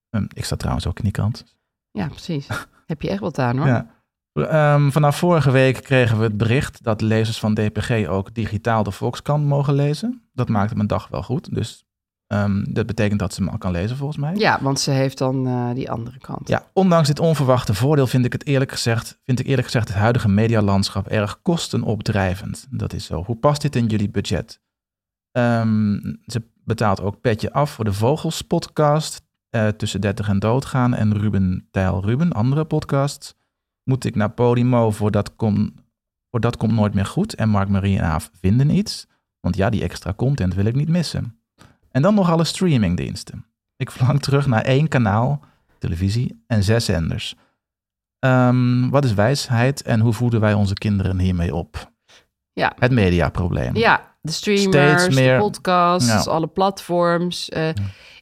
B: Ehm, ik sta trouwens ook in die krant.
C: Ja, precies. Heb je echt wat aan hoor.
B: Ja. Ehm, vanaf vorige week kregen we het bericht dat lezers van DPG ook digitaal de Volkskrant mogen lezen. Dat maakte mijn dag wel goed. Dus ehm, dat betekent dat ze hem al kan lezen volgens mij.
C: Ja, want ze heeft dan eh, die andere kant.
B: Ja, ondanks dit onverwachte voordeel vind ik het eerlijk gezegd, vind ik eerlijk gezegd het huidige medialandschap erg kostenopdrijvend. Dat is zo. Hoe past dit in jullie budget? Ehm, ze betaalt ook Petje Af voor de Vogels podcast, eh, Tussen 30 en Doodgaan en Ruben Tijl Ruben, andere podcasts. Moet ik naar Podimo voor Dat, kom, voor dat Komt Nooit Meer Goed en Mark, Marie en Aaf vinden iets? Want ja, die extra content wil ik niet missen. En dan nog alle streamingdiensten. Ik verlang terug naar één kanaal televisie en zes zenders. Ehm, wat is wijsheid en hoe voeden wij onze kinderen hiermee op?
C: Ja.
B: Het mediaprobleem.
C: Ja, de streamers,
B: Steeds meer-
C: de podcasts,
B: Ja.
C: alle platforms. eh.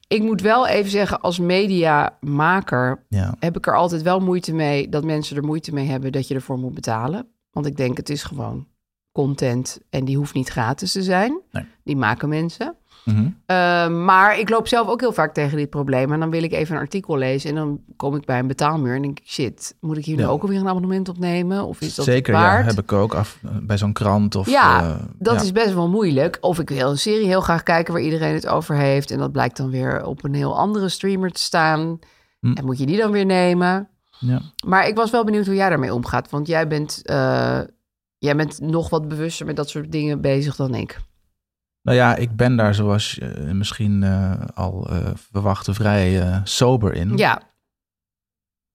C: Ik moet wel even zeggen, als mediamaker
B: Ja.
C: heb ik er altijd wel moeite mee... dat mensen er moeite mee hebben dat je ervoor moet betalen. Want ik denk, het is gewoon content en die hoeft niet gratis te zijn.
B: Nee.
C: Die maken mensen.
B: Mhm.
C: Eh, maar ik loop zelf ook heel vaak tegen dit probleem. En dan wil ik even een artikel lezen. En dan kom ik bij een betaalmuur. En denk ik, shit, moet ik hier
B: Ja.
C: nu ook alweer een abonnement opnemen? Of is dat
B: Zeker,
C: waard?
B: ja, heb ik ook af, eh, bij zo'n krant of...
C: Ja,
B: eh,
C: Dat
B: ja.
C: is best wel moeilijk. Of ik wil een serie heel graag kijken waar iedereen het over heeft. En dat blijkt dan weer op een heel andere streamer te staan.
B: Hm.
C: En moet je die dan weer nemen?
B: Ja.
C: Maar ik was wel benieuwd hoe jij daarmee omgaat. Want jij bent, eh, jij bent nog wat bewuster met dat soort dingen bezig dan ik.
B: Nou ja, ik ben daar zoals je misschien eh, al eh verwachtte vrij eh, sober in.
C: Ja.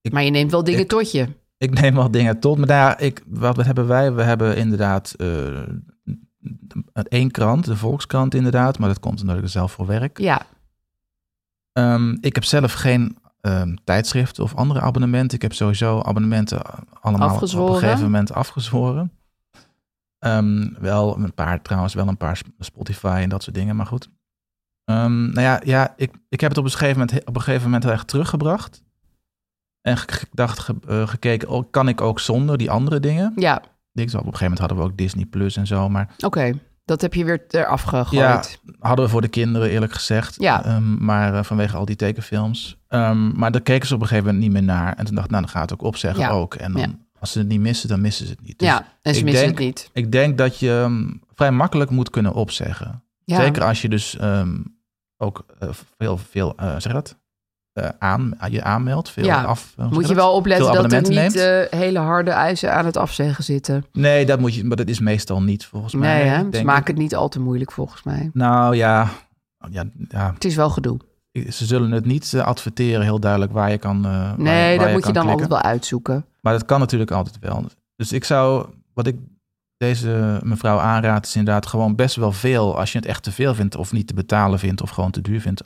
B: Ik-
C: maar je neemt wel dingen
B: ik-
C: tot je.
B: Ik neem al dingen tot. Maar nou ja, ik, wat hebben wij? We hebben inderdaad eh, één krant, de Volkskrant inderdaad. Maar dat komt omdat ik er zelf voor werk.
C: Ja.
B: Ehm, ik heb zelf geen ehm tijdschriften of andere abonnementen. Ik heb sowieso abonnementen eh, allemaal op
C: Afgezworen.
B: een gegeven moment afgezworen. Ehm, wel een paar trouwens, wel een paar Spotify en dat soort dingen, maar goed. Ehm, nou ja, ja ik, ik heb het op een gegeven moment, op een gegeven moment heel erg teruggebracht. En ge- ge- dacht, ge- eh, gekeken, oh, kan ik ook zonder die andere dingen?
C: Ja,
B: Ik, zo, op een gegeven moment hadden we ook Disney Plus en zo, maar
C: oké. Dat heb je weer eraf gegooid.
B: hadden we voor de kinderen, eerlijk gezegd.
C: Ja.
B: Ehm, maar eh, vanwege al die tekenfilms. Ehm, maar daar keken ze op een gegeven moment niet meer naar. En toen dacht ik, nou, dan ga ik het ook opzeggen
C: Ja.
B: ook. En dan,
C: Ja.
B: als ze het niet missen, dan missen ze het niet.
C: Ja,
B: Dus
C: en ze
B: ik
C: missen
B: denk-
C: het niet.
B: ik denk dat je ehm, vrij makkelijk moet kunnen opzeggen.
C: Ja.
B: Zeker als je dus ehm, ook eh, veel, veel eh, zeg je dat? Eh, aan, je aanmeldt, veel
C: Ja.
B: af. eh, hoe
C: Moet
B: zeg
C: je
B: dat?
C: wel opletten
B: Veel
C: dat er
B: abonnementen
C: niet eh, hele harde eisen aan het afzeggen zitten.
B: Nee, dat moet je, maar dat is meestal niet volgens mij.
C: nee, hè?
B: denk
C: ze
B: ik.
C: maken het niet al te moeilijk volgens mij.
B: Nou ja, ja, ja,
C: Het is wel gedoe.
B: ze zullen het niet eh, adverteren heel duidelijk waar je kan. eh, waar je- waar
C: Nee, dat moet je
B: kan
C: dan
B: klikken.
C: altijd wel uitzoeken.
B: Maar dat kan natuurlijk altijd wel. Dus ik zou, wat ik deze mevrouw aanraad, is inderdaad gewoon best wel veel. Als je het echt te veel vindt, of niet te betalen vindt, of gewoon te duur vindt.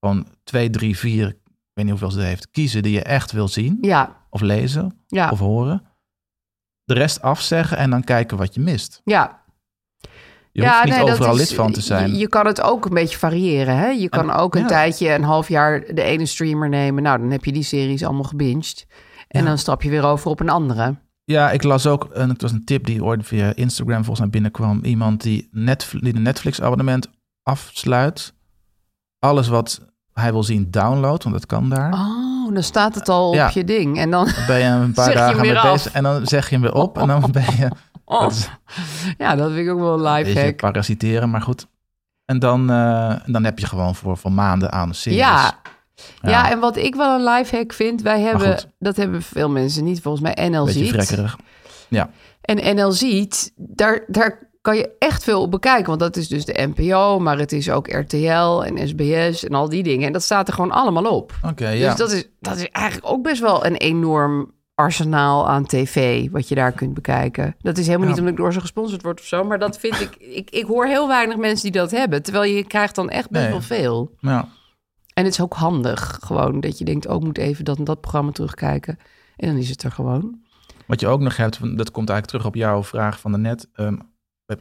B: Gewoon twee, drie, vier, ik weet niet hoeveel ze heeft, kiezen die je echt wil zien,
C: Ja,
B: of lezen,
C: ja,
B: of horen. De rest afzeggen en dan kijken wat je mist.
C: ja.
B: Je
C: ja,
B: hoeft niet
C: nee, dat
B: overal
C: is-
B: lid van te zijn.
C: Je, je kan het ook een beetje variëren. Hè? Je kan
B: En-
C: ook een
B: ja.
C: tijdje, een half jaar, de ene streamer nemen. Nou, dan heb je die series allemaal gebinged. En
B: Ja.
C: dan stap je weer over op een andere.
B: Ja, ik las ook, en het was een tip die ooit via Instagram volgens mij binnenkwam. Iemand die, Netflix, die een Netflix-abonnement afsluit. Alles wat hij wil zien download, want dat kan daar.
C: Oh, dan staat het al
B: Ja.
C: op je ding. En dan,
B: Dan ben je een paar
C: Zeg je hem
B: dagen mee
C: weer af.
B: bezig en dan zeg je hem weer op. En dan ben je,
C: oh,
B: dat is een
C: ja, dat vind ik ook wel een
B: beetje
C: lifehack.
B: parasiteren, maar goed. En dan, eh, en dan heb je gewoon voor, voor maanden aan series.
C: Ja.
B: Ja.
C: Ja. en wat ik wel een lifehack vind, wij
B: goed.
C: hebben, dat hebben veel mensen niet, volgens mij NL
B: Beetje
C: Ziet.
B: vrekkerig.
C: En NL Ziet, daar, daar kan je echt veel op bekijken, want dat is dus de NPO, maar het is ook RTL en SBS en al die dingen. En dat staat er gewoon allemaal op.
B: Oké, ja.
C: Dus dat is, dat is eigenlijk ook best wel een enorm arsenaal aan tv, wat je daar kunt bekijken. Dat is helemaal
B: Ja.
C: niet omdat ik door ze gesponsord word of zo, maar dat vind ik, ik, ik hoor heel weinig mensen die dat hebben, terwijl je krijgt dan echt best
B: Nee.
C: wel veel.
B: Ja.
C: En het is ook handig, gewoon dat je denkt, oh, ik moet even dat en dat programma terugkijken. En dan is het er gewoon.
B: Wat je ook nog hebt, want dat komt eigenlijk terug op jouw vraag van daarnet, ehm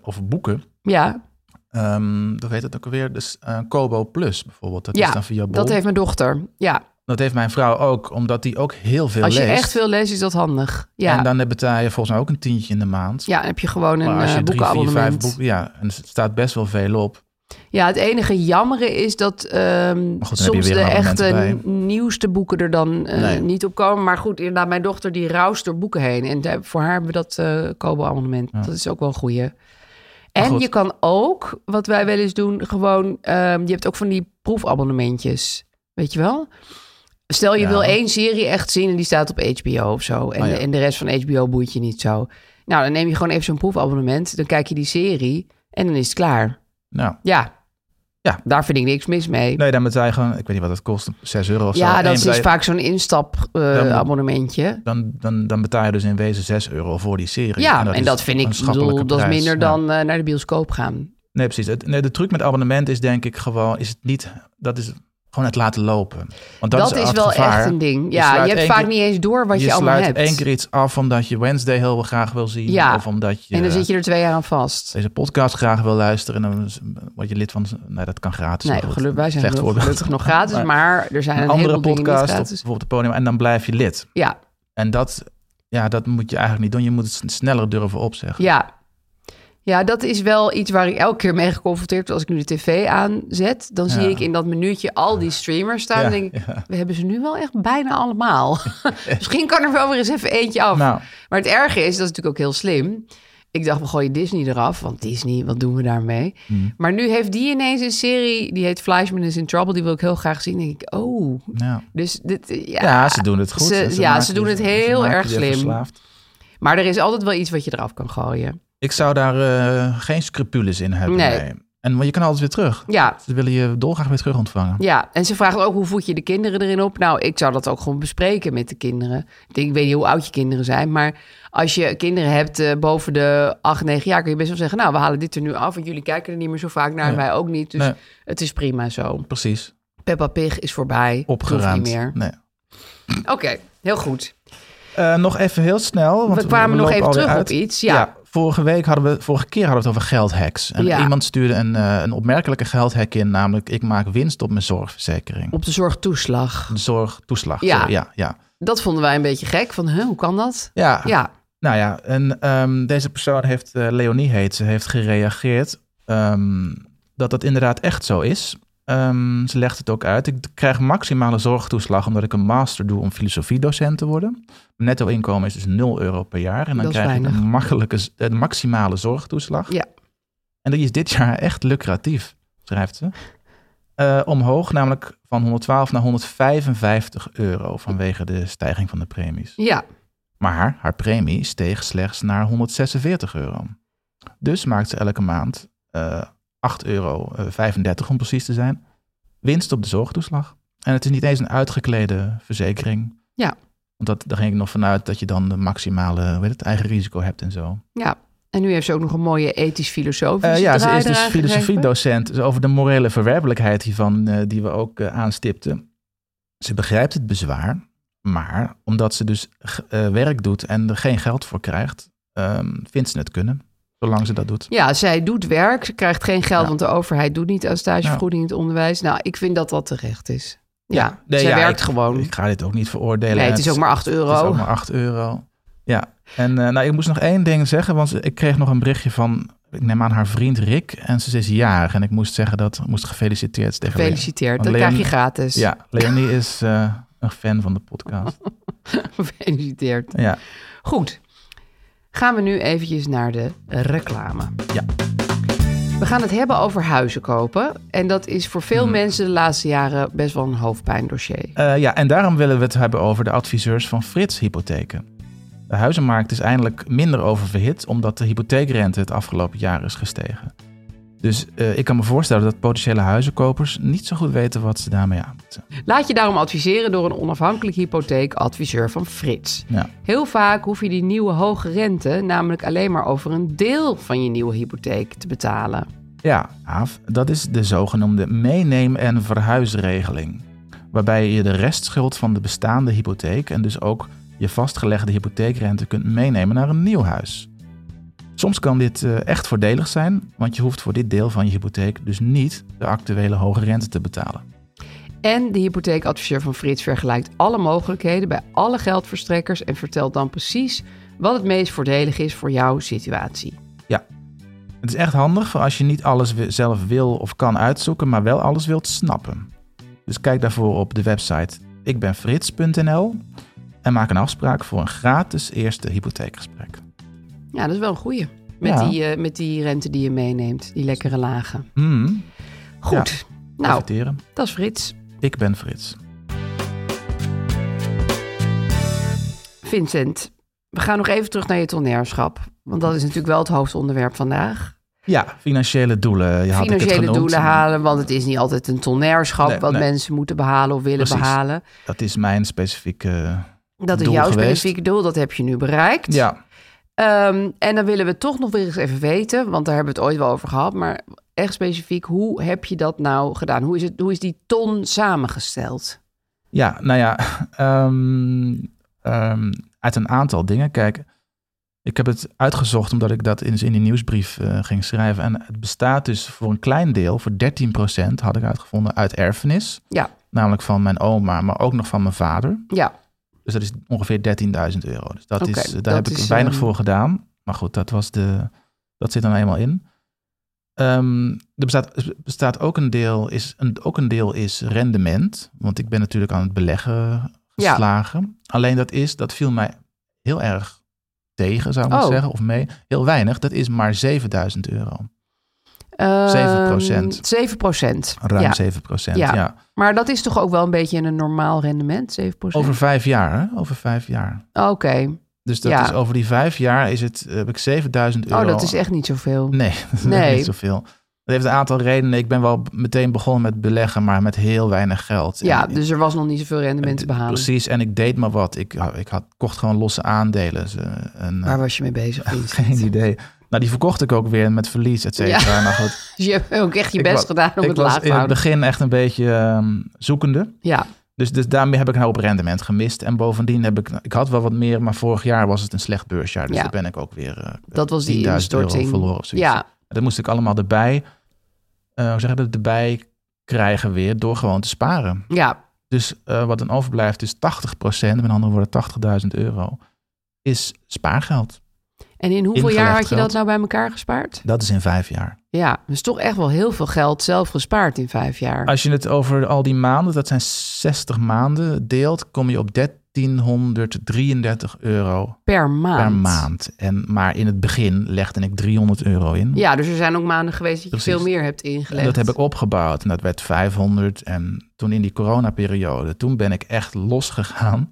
B: over boeken.
C: Ja,
B: Ehm dat heet het ook alweer. Dus eh, Kobo Plus bijvoorbeeld. Dat
C: Ja,
B: is dan via Bol.
C: dat heeft mijn dochter. Ja,
B: Dat heeft mijn vrouw ook, omdat die ook heel veel
C: als je
B: leest.
C: echt veel leest, is dat handig. Ja,
B: En dan betaal je volgens mij ook een tientje in de maand.
C: ja dan heb je gewoon een
B: maar als
C: eh,
B: je drie, vier, vijf
C: boekenabonnement.
B: boeken... Ja, en er staat best wel veel op.
C: Ja, het enige jammere is dat ehm,
B: heb je
C: soms
B: weer
C: de
B: een abonnement
C: echte
B: erbij.
C: n- nieuwste boeken er dan eh,
B: Nee.
C: niet op komen. Maar goed, inderdaad, mijn dochter die roust door boeken heen. En daar- voor haar hebben we dat eh Kobo-abonnement.
B: Ja.
C: Dat is ook wel een goeie.
B: Maar
C: En
B: goed.
C: je kan ook, wat wij wel eens doen, gewoon... ehm, je hebt ook van die proefabonnementjes, weet je wel? Stel, je
B: Ja.
C: wil één serie echt zien en die staat op HBO of zo. En,
B: Ah, ja.
C: en de rest van HBO boeit je niet zo. Nou, dan neem je gewoon even zo'n proefabonnement. Dan kijk je die serie en dan is het klaar.
B: Nou,
C: Ja.
B: Ja.
C: Daar vind ik niks mis mee.
B: nee, dan betaal je gewoon... Ik weet niet wat het kost, 6 euro of zo.
C: ja,
B: En
C: dat
B: je
C: is
B: betaalt-
C: vaak zo'n
B: Dan moet-
C: instap-abonnementje.
B: Dan, dan, dan betaal je dus in wezen 6 euro voor die serie.
C: ja, en dat,
B: is
C: vind
B: een
C: ik, ik bedoel,
B: schappelijke
C: dat is
B: prijs.
C: minder
B: Ja.
C: dan eh, naar de bioscoop gaan.
B: Nee, precies. Het, nee, de truc met abonnement is denk ik gewoon... Is het niet... Dat is gewoon het laten lopen. Want dat,
C: Dat, is,
B: het
C: wel
B: gevaar.
C: echt een ding.
B: Je
C: Ja,
B: sluit
C: je hebt
B: één
C: vaak
B: keer-
C: niet eens door wat je, allemaal
B: sluit
C: hebt.
B: één keer iets af omdat je Wednesday heel graag wil zien.
C: Ja.
B: Of omdat je,
C: En dan zit je er twee jaar aan vast.
B: deze podcast graag wil luisteren. En dan is- word je lid van... Nee, dat kan gratis.
C: Nee,
B: maar goed,
C: gelukkig, wij zijn
B: slecht
C: geluk-
B: voorbeeld.
C: gelukkig nog gratis,
B: Maar
C: maar er zijn een
B: Een andere
C: heleboel dingen niet
B: podcast op
C: gratis.
B: bijvoorbeeld de podium. En dan blijf je lid.
C: Ja,
B: En dat ja, dat moet je eigenlijk niet doen. Je moet het s- sneller durven opzeggen.
C: Ja. Ja, dat is wel iets waar ik elke keer mee geconfronteerd word. Als ik nu de tv aanzet, dan
B: Ja.
C: zie ik in dat minuutje al die streamers staan.
B: Ja,
C: en denk ik,
B: ja.
C: we hebben ze nu wel echt bijna allemaal. Misschien kan er wel weer eens even eentje af.
B: Nou,
C: Maar het erge is, dat is natuurlijk ook heel slim. Ik dacht, we gooien Disney eraf, want Disney, wat doen we daarmee?
B: Hmm.
C: Maar nu heeft die ineens een serie, die heet Fleischman is in Trouble. Die wil ik heel graag zien. Dan denk ik, oh.
B: nou.
C: Dus dit, ja.
B: Ja, ze doen het goed.
C: Ze- ja,
B: maken
C: ze doen
B: je-
C: het
B: ze
C: heel
B: maken
C: erg
B: je
C: slim.
B: verslaafd.
C: Maar er is altijd wel iets wat je eraf kan gooien.
B: Ik zou daar eh, geen scrupules in hebben.
C: Nee.
B: Nee. En want je kan altijd weer terug.
C: Ja,
B: Ze willen je dolgraag weer terug ontvangen.
C: Ja, en ze vragen ook hoe voed je de kinderen erin op. Nou, ik zou dat ook gewoon bespreken met de kinderen. Ik, denk, ik weet niet hoe oud je kinderen zijn, maar als je kinderen hebt eh, boven de 8, 9 jaar, kun je best wel zeggen: Nou, we halen dit er nu af, want jullie kijken er niet meer zo vaak naar, en
B: Nee.
C: wij ook niet. Dus
B: Nee.
C: het is prima zo.
B: Precies.
C: Peppa Pig is voorbij.
B: Opgeruimd. Hm.
C: Hoeft niet meer.
B: Nee.
C: Oké, heel goed.
B: Eh, nog even heel snel. Oh, Want
C: We kwamen nog
B: lopen
C: even
B: alweer
C: terug op
B: uit.
C: iets, ja.
B: vorige, week hadden we, vorige keer hadden we het over geldhacks. En
C: Ja.
B: iemand stuurde een, eh, een opmerkelijke geldhack in. Namelijk, ik maak winst op mijn zorgverzekering.
C: Op de zorgtoeslag.
B: Een zorgtoeslag.
C: Ja.
B: sorry. Ja, ja.
C: Dat vonden wij een beetje gek. Van, huh, hoe kan dat?
B: Ja,
C: Ja,
B: nou ja, en ehm, deze persoon heeft, eh, Leonie heet ze, heeft gereageerd ehm, dat dat inderdaad echt zo is. Ehm, ze legt het ook uit. Ik krijg maximale zorgtoeslag omdat ik een master doe om filosofiedocent te worden. Mijn netto inkomen is dus 0 euro per jaar. En dan
C: Dat is
B: krijg ik
C: weinig.
B: een, makkelijke, z- een maximale zorgtoeslag.
C: Ja.
B: En die is dit jaar echt lucratief, schrijft ze. Eh, omhoog, namelijk van 112 naar 155 euro vanwege de stijging van de premies.
C: ja.
B: Maar haar premie steeg slechts naar 146 euro. Dus maakt ze elke maand eh 8,35 euro eh, om precies te zijn winst op de zorgtoeslag. En het is niet eens een uitgeklede verzekering.
C: Ja.
B: Want dat, daar ging ik nog vanuit dat je dan de maximale hoe heet het, eigen risico hebt en zo.
C: ja. En nu heeft ze ook nog een mooie ethisch-filosofische
B: Eh, ja, ze
C: draai
B: is dus
C: eraan gegeven.
B: filosofiedocent. Dus over de morele verwerpelijkheid hiervan, eh, die we ook eh, aanstipten. Ze begrijpt het bezwaar, maar omdat ze dus g- eh, werk doet en er geen geld voor krijgt, ehm, vindt ze het kunnen, zolang ze dat doet.
C: Ja, zij doet werk, ze krijgt geen geld,
B: Ja.
C: want de overheid doet niet aan stagevergoeding in het onderwijs. Nou, ik vind dat dat terecht is. Ja,
B: Nee,
C: zij
B: ja,
C: werkt
B: ik-
C: gewoon.
B: Ik ga dit ook niet veroordelen.
C: nee,
B: En
C: het is ook maar 8 euro.
B: Het is ook maar 8 euro. Ja, en eh, nou, ik moest nog één ding zeggen, want ik kreeg nog een berichtje van, ik neem aan haar vriend Rick, en ze is jarig. En ik moest zeggen dat, moest gefeliciteerd tegen Rick.
C: Gefeliciteerd,
B: Want
C: dat
B: Leon-
C: krijg je gratis.
B: Ja, Leonie is eh, een fan van de podcast.
C: Gefeliciteerd.
B: Ja,
C: Goed, gaan we nu eventjes naar de reclame.
B: Ja.
C: We gaan het hebben over huizen kopen. En dat is voor
B: Hmm.
C: veel mensen de laatste jaren best wel een hoofdpijndossier.
B: Eh, ja en daarom willen we het hebben over de adviseurs van Frits Hypotheken. De huizenmarkt is eindelijk minder oververhit omdat de hypotheekrente het afgelopen jaar is gestegen. Dus eh, ik kan me voorstellen dat potentiële huizenkopers niet zo goed weten wat ze daarmee aan moeten.
C: Laat je daarom adviseren door een onafhankelijk hypotheekadviseur van Frits.
B: Ja.
C: Heel vaak hoef je die nieuwe hoge rente namelijk alleen maar over een deel van je nieuwe hypotheek te betalen.
B: Ja, Aaf, dat is de zogenoemde meeneem- en verhuisregeling. Waarbij je de restschuld van de bestaande hypotheek en dus ook je vastgelegde hypotheekrente kunt meenemen naar een nieuw huis. Soms kan dit eh, echt voordelig zijn, want je hoeft voor dit deel van je hypotheek dus niet de actuele hoge rente te betalen.
C: En de hypotheekadviseur van Frits vergelijkt alle mogelijkheden bij alle geldverstrekkers en vertelt dan precies wat het meest voordelig is voor jouw situatie.
B: Het is echt handig voor als je niet alles wi- zelf wil of kan uitzoeken, maar wel alles wilt snappen. Dus kijk daarvoor op de website ikbenfrits.nl en maak een afspraak voor een gratis eerste hypotheekgesprek.
C: Ja, dat is wel een goeie. Met,
B: Ja.
C: die, eh, met die rente die je meeneemt, die lekkere lagen.
B: Hmm,
C: Goed, nou,
B: Profiteren.
C: dat is Frits.
B: Ik ben Frits.
C: Vincent, we gaan nog even terug naar je toneerschap. Want dat is natuurlijk wel het hoofdonderwerp vandaag.
B: Ja, financiële doelen. Je had ik het
C: Financiële
B: genoemd. Nou,
C: doelen halen, want het is niet altijd een toneerschap
B: Nee,
C: wat
B: nee.
C: mensen moeten behalen of willen
B: Precies.
C: behalen.
B: Dat is mijn specifieke.
C: Dat is
B: Doel
C: jouw
B: geweest.
C: specifieke doel, dat heb je nu bereikt.
B: Ja,
C: Ehm, en dan willen we toch nog weer eens even weten, want daar hebben we het ooit wel over gehad, maar echt specifiek, hoe heb je dat nou gedaan? Hoe is, het, hoe is die ton samengesteld?
B: ja nou ja. ehm, ehm, uit een aantal dingen. Kijk, ik heb het uitgezocht omdat ik dat in, in die nieuwsbrief eh, ging schrijven. En het bestaat dus voor een klein deel, voor 13% had ik uitgevonden, uit erfenis.
C: Ja,
B: Namelijk van mijn oma, maar ook nog van mijn vader.
C: ja,
B: Dus dat is ongeveer 13.000 euro. Dus dat
C: Oké,
B: is, daar
C: dat
B: heb ik
C: is,
B: weinig
C: ehm,
B: voor gedaan. Maar goed, dat, was de, dat zit er nou eenmaal in. Ehm, er bestaat, bestaat ook een deel, is, een, ook een deel is rendement. Want ik ben natuurlijk aan het beleggen
C: Ja.
B: geslagen. Alleen dat is, dat viel mij heel erg tegen, zou ik maar
C: Oh.
B: zeggen, of mee. Heel weinig, dat is maar 7000 euro.
C: Ehm,
B: 7%.
C: 7%.
B: Ruim
C: ja.
B: 7 procent,
C: Ja.
B: ja.
C: Maar dat is toch ook wel een beetje een normaal rendement, 7%?
B: Over vijf jaar, hè? Over vijf jaar.
C: Oké. Oh,
B: Dus dat
C: Ja.
B: is over die vijf jaar is het, eh, heb ik 7000 euro.
C: Oh, dat is echt niet zoveel.
B: Nee, dat is
C: Nee.
B: niet zoveel. Dat heeft een aantal redenen. Ik ben wel b- meteen begonnen met beleggen, maar met heel weinig geld.
C: Ja,
B: En-
C: dus er was nog niet zoveel rendement te behalen.
B: Precies, en ik deed maar wat. Ik, ik had, kocht gewoon losse aandelen. Dus, eh, en, eh,
C: Waar was je mee bezig? Vincent?
B: geen idee. Nou, die verkocht ik ook weer met verlies, et cetera. Nou goed,
C: Dus je hebt ook echt je
B: Ik
C: best
B: wa-
C: gedaan om
B: ik
C: het
B: was
C: laag te
B: in het
C: houden.
B: begin echt een beetje ehm, zoekende.
C: Ja,
B: Dus, dus daarmee heb ik een hoop rendement gemist. En bovendien heb ik... nou, Ik had wel wat meer, maar vorig jaar was het een slecht beursjaar. Dus
C: Ja.
B: daar ben ik ook weer... eh,
C: dat was die
B: 10.000 euro
C: instorting.
B: verloren of zoiets.
C: ja,
B: Dat moest ik allemaal erbij... eh, hoe zeg ik dat? Erbij krijgen weer door gewoon te sparen.
C: ja,
B: Dus eh, wat dan overblijft is 80 Met andere woorden 80.000 euro. Is spaargeld.
C: en in hoeveel
B: Ingelegd
C: jaar had je dat
B: geld.
C: nou bij elkaar gespaard?
B: Dat is in vijf jaar.
C: Ja, dus toch echt wel heel veel geld zelf gespaard in vijf jaar.
B: Als je het over al die maanden, dat zijn 60 maanden, deelt, kom je op 1333 euro
C: per maand.
B: per maand. En, maar in het begin legde ik 300 euro in.
C: Ja, dus er zijn ook maanden geweest dat je
B: Precies.
C: veel meer hebt
B: En
C: ingelegd.
B: dat heb ik opgebouwd en dat werd 500. En toen in die coronaperiode, toen ben ik echt losgegaan.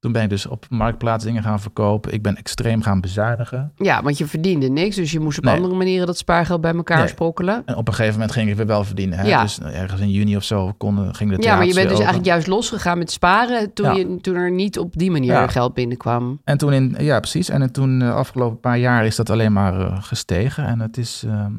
B: Toen ben ik dus op marktplaats dingen gaan verkopen. Ik ben extreem gaan bezuinigen.
C: Ja, want je verdiende niks, dus je moest op
B: Nee.
C: andere manieren dat spaargeld bij elkaar
B: Nee.
C: sprokkelen.
B: En op een gegeven moment ging ik weer wel verdienen. Hè?
C: Ja.
B: Dus ergens in juni of zo konden, ging de
C: Ja, maar je
B: theaters weer
C: bent dus
B: open.
C: eigenlijk juist losgegaan met sparen toen,
B: Ja.
C: je, toen er niet op die manier
B: Ja.
C: geld binnenkwam.
B: En toen in, ja, precies. En toen de afgelopen paar jaar is dat alleen maar eh, gestegen. En het is, ehm,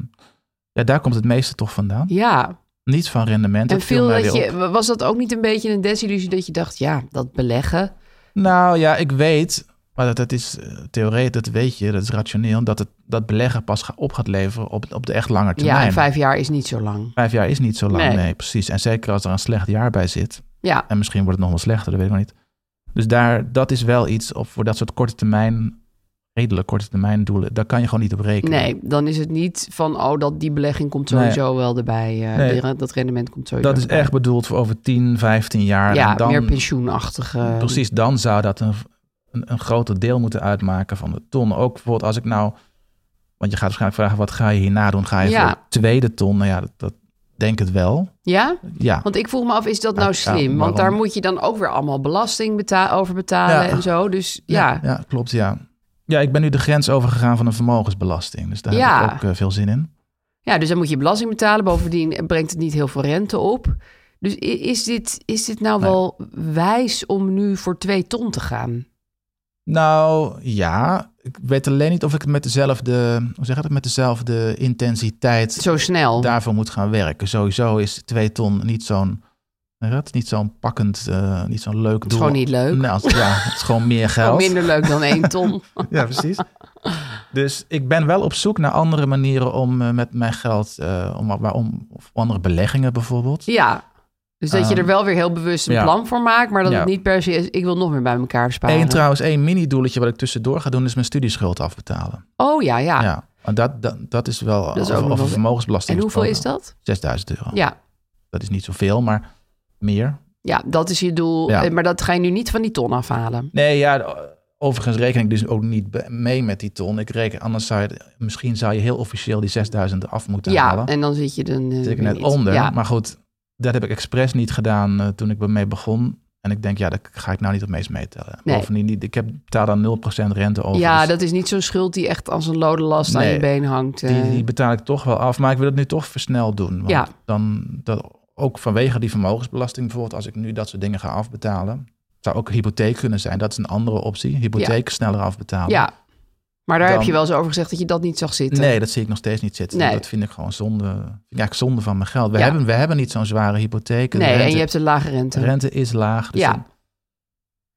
B: ja, daar komt het meeste toch vandaan.
C: Ja,
B: Niet van rendement.
C: en
B: dat viel
C: veel
B: mij
C: dat
B: weer
C: je,
B: op.
C: was dat ook niet een beetje een desillusie dat je dacht, ja, dat beleggen.
B: Nou ja, ik weet, maar dat, dat is eh, theoretisch, dat weet je, dat is rationeel, dat het, dat beleggen pas ga- op gaat leveren op, op de echt lange termijn.
C: Ja, en vijf jaar is niet zo lang.
B: Vijf jaar is niet zo lang,
C: Nee.
B: nee. precies. En zeker als er een slecht jaar bij zit.
C: Ja,
B: En misschien wordt het nog wel slechter, dat weet ik nog niet. Dus daar, dat is wel iets, of voor dat soort korte termijn, redelijk korte termijn doelen, daar kan je gewoon niet op rekenen.
C: nee, dan is het niet van, oh, dat die belegging komt sowieso wel erbij. eh,
B: Nee.
C: de- Dat rendement komt sowieso
B: Dat is
C: erbij.
B: echt bedoeld voor over 10, 15 jaar.
C: Ja,
B: en dan,
C: meer pensioenachtige.
B: Precies, dan zou dat een, een, een groter deel moeten uitmaken van de ton. Ook bijvoorbeeld als ik nou... Want je gaat waarschijnlijk vragen, wat ga je hierna doen? Ga je
C: Ja.
B: voor de tweede ton? Nou ja, dat, dat denk het wel.
C: Ja?
B: Ja,
C: Want ik vroeg me af, is dat nou
B: Ja,
C: slim? Want
B: waarom?
C: daar moet je dan ook weer allemaal belasting beta- over betalen
B: Ja.
C: en zo. Dus ja, ja,
B: ja klopt, ja. Ja, ik ben nu de grens overgegaan van een vermogensbelasting. Dus daar
C: Ja.
B: heb ik ook eh, veel zin in.
C: dus dan moet je belasting betalen. Bovendien brengt het niet heel veel rente op. Dus i- is dit, is dit nou
B: Nee.
C: wel wijs om nu voor twee ton te gaan?
B: Nou, ja. Ik weet alleen niet of ik het met dezelfde... Hoe zeg je dat? Met dezelfde intensiteit...
C: Zo snel.
B: daarvoor moet gaan werken. Sowieso is twee ton niet zo'n weet je dat? niet zo'n pakkend, eh, niet zo'n leuk doel.
C: is gewoon niet leuk.
B: Nou, als- ja, het is gewoon meer
C: Wel
B: geld.
C: minder leuk dan één ton.
B: Ja, precies. Dus ik ben wel op zoek naar andere manieren om eh, met mijn geld, eh, om, waarom, of andere beleggingen bijvoorbeeld.
C: ja. Dus dat je
B: Ehm,
C: er wel weer heel bewust een
B: ja.
C: plan voor maakt, maar dat
B: Ja.
C: het niet per se is, ik wil nog meer bij elkaar sparen.
B: Eén trouwens, één mini-doeletje wat ik tussendoor ga doen, is mijn studieschuld afbetalen.
C: oh ja, ja.
B: Ja, want dat, dat, dat is wel
C: is ook
B: over,
C: nog
B: over
C: wel-
B: vermogensbelasting.
C: En hoeveel is
B: gesproken.
C: dat?
B: 6000 euro.
C: Ja.
B: Dat is niet zoveel, maar meer.
C: ja, dat is je doel.
B: Ja.
C: Eh, Maar dat ga je nu niet van die ton afhalen.
B: Nee, ja, overigens reken ik dus ook niet be- mee met die ton. Ik reken, anders zou je, misschien zou je heel officieel die 6000 af moeten
C: Ja,
B: halen.
C: en dan zit je dan... eh,
B: Zit ik
C: weer
B: net
C: niet.
B: onder.
C: Ja.
B: Maar goed, dat heb ik expres niet gedaan eh, toen ik ermee begon. En ik denk, ja, daar ga ik nou niet op meest meetellen.
C: Nee.
B: Bovendien, niet- ik heb, betaal dan 0% rente over.
C: ja,
B: Dus
C: dat is niet zo'n schuld die echt als een lode last aan
B: Nee,
C: je been hangt. eh.
B: die, die betaal ik toch wel af. Maar ik wil het nu toch versneld doen. Want
C: Ja.
B: dan, dat, ook vanwege die vermogensbelasting bijvoorbeeld, als ik nu dat soort dingen ga afbetalen. Zou ook een hypotheek kunnen zijn. Dat is een andere optie. Hypotheek sneller afbetalen.
C: ja. Maar daar heb
B: Dan-
C: je wel eens over gezegd dat je dat niet zag zitten.
B: Nee, dat zie ik nog steeds niet zitten.
C: Nee.
B: Dat vind ik gewoon zonde. Vind ik eigenlijk zonde van mijn geld. We,
C: Ja.
B: hebben, we hebben niet zo'n zware hypotheek. De
C: Nee,
B: rente,
C: en je hebt een lage rente.
B: de rente is laag. Dus
C: Ja.
B: dan-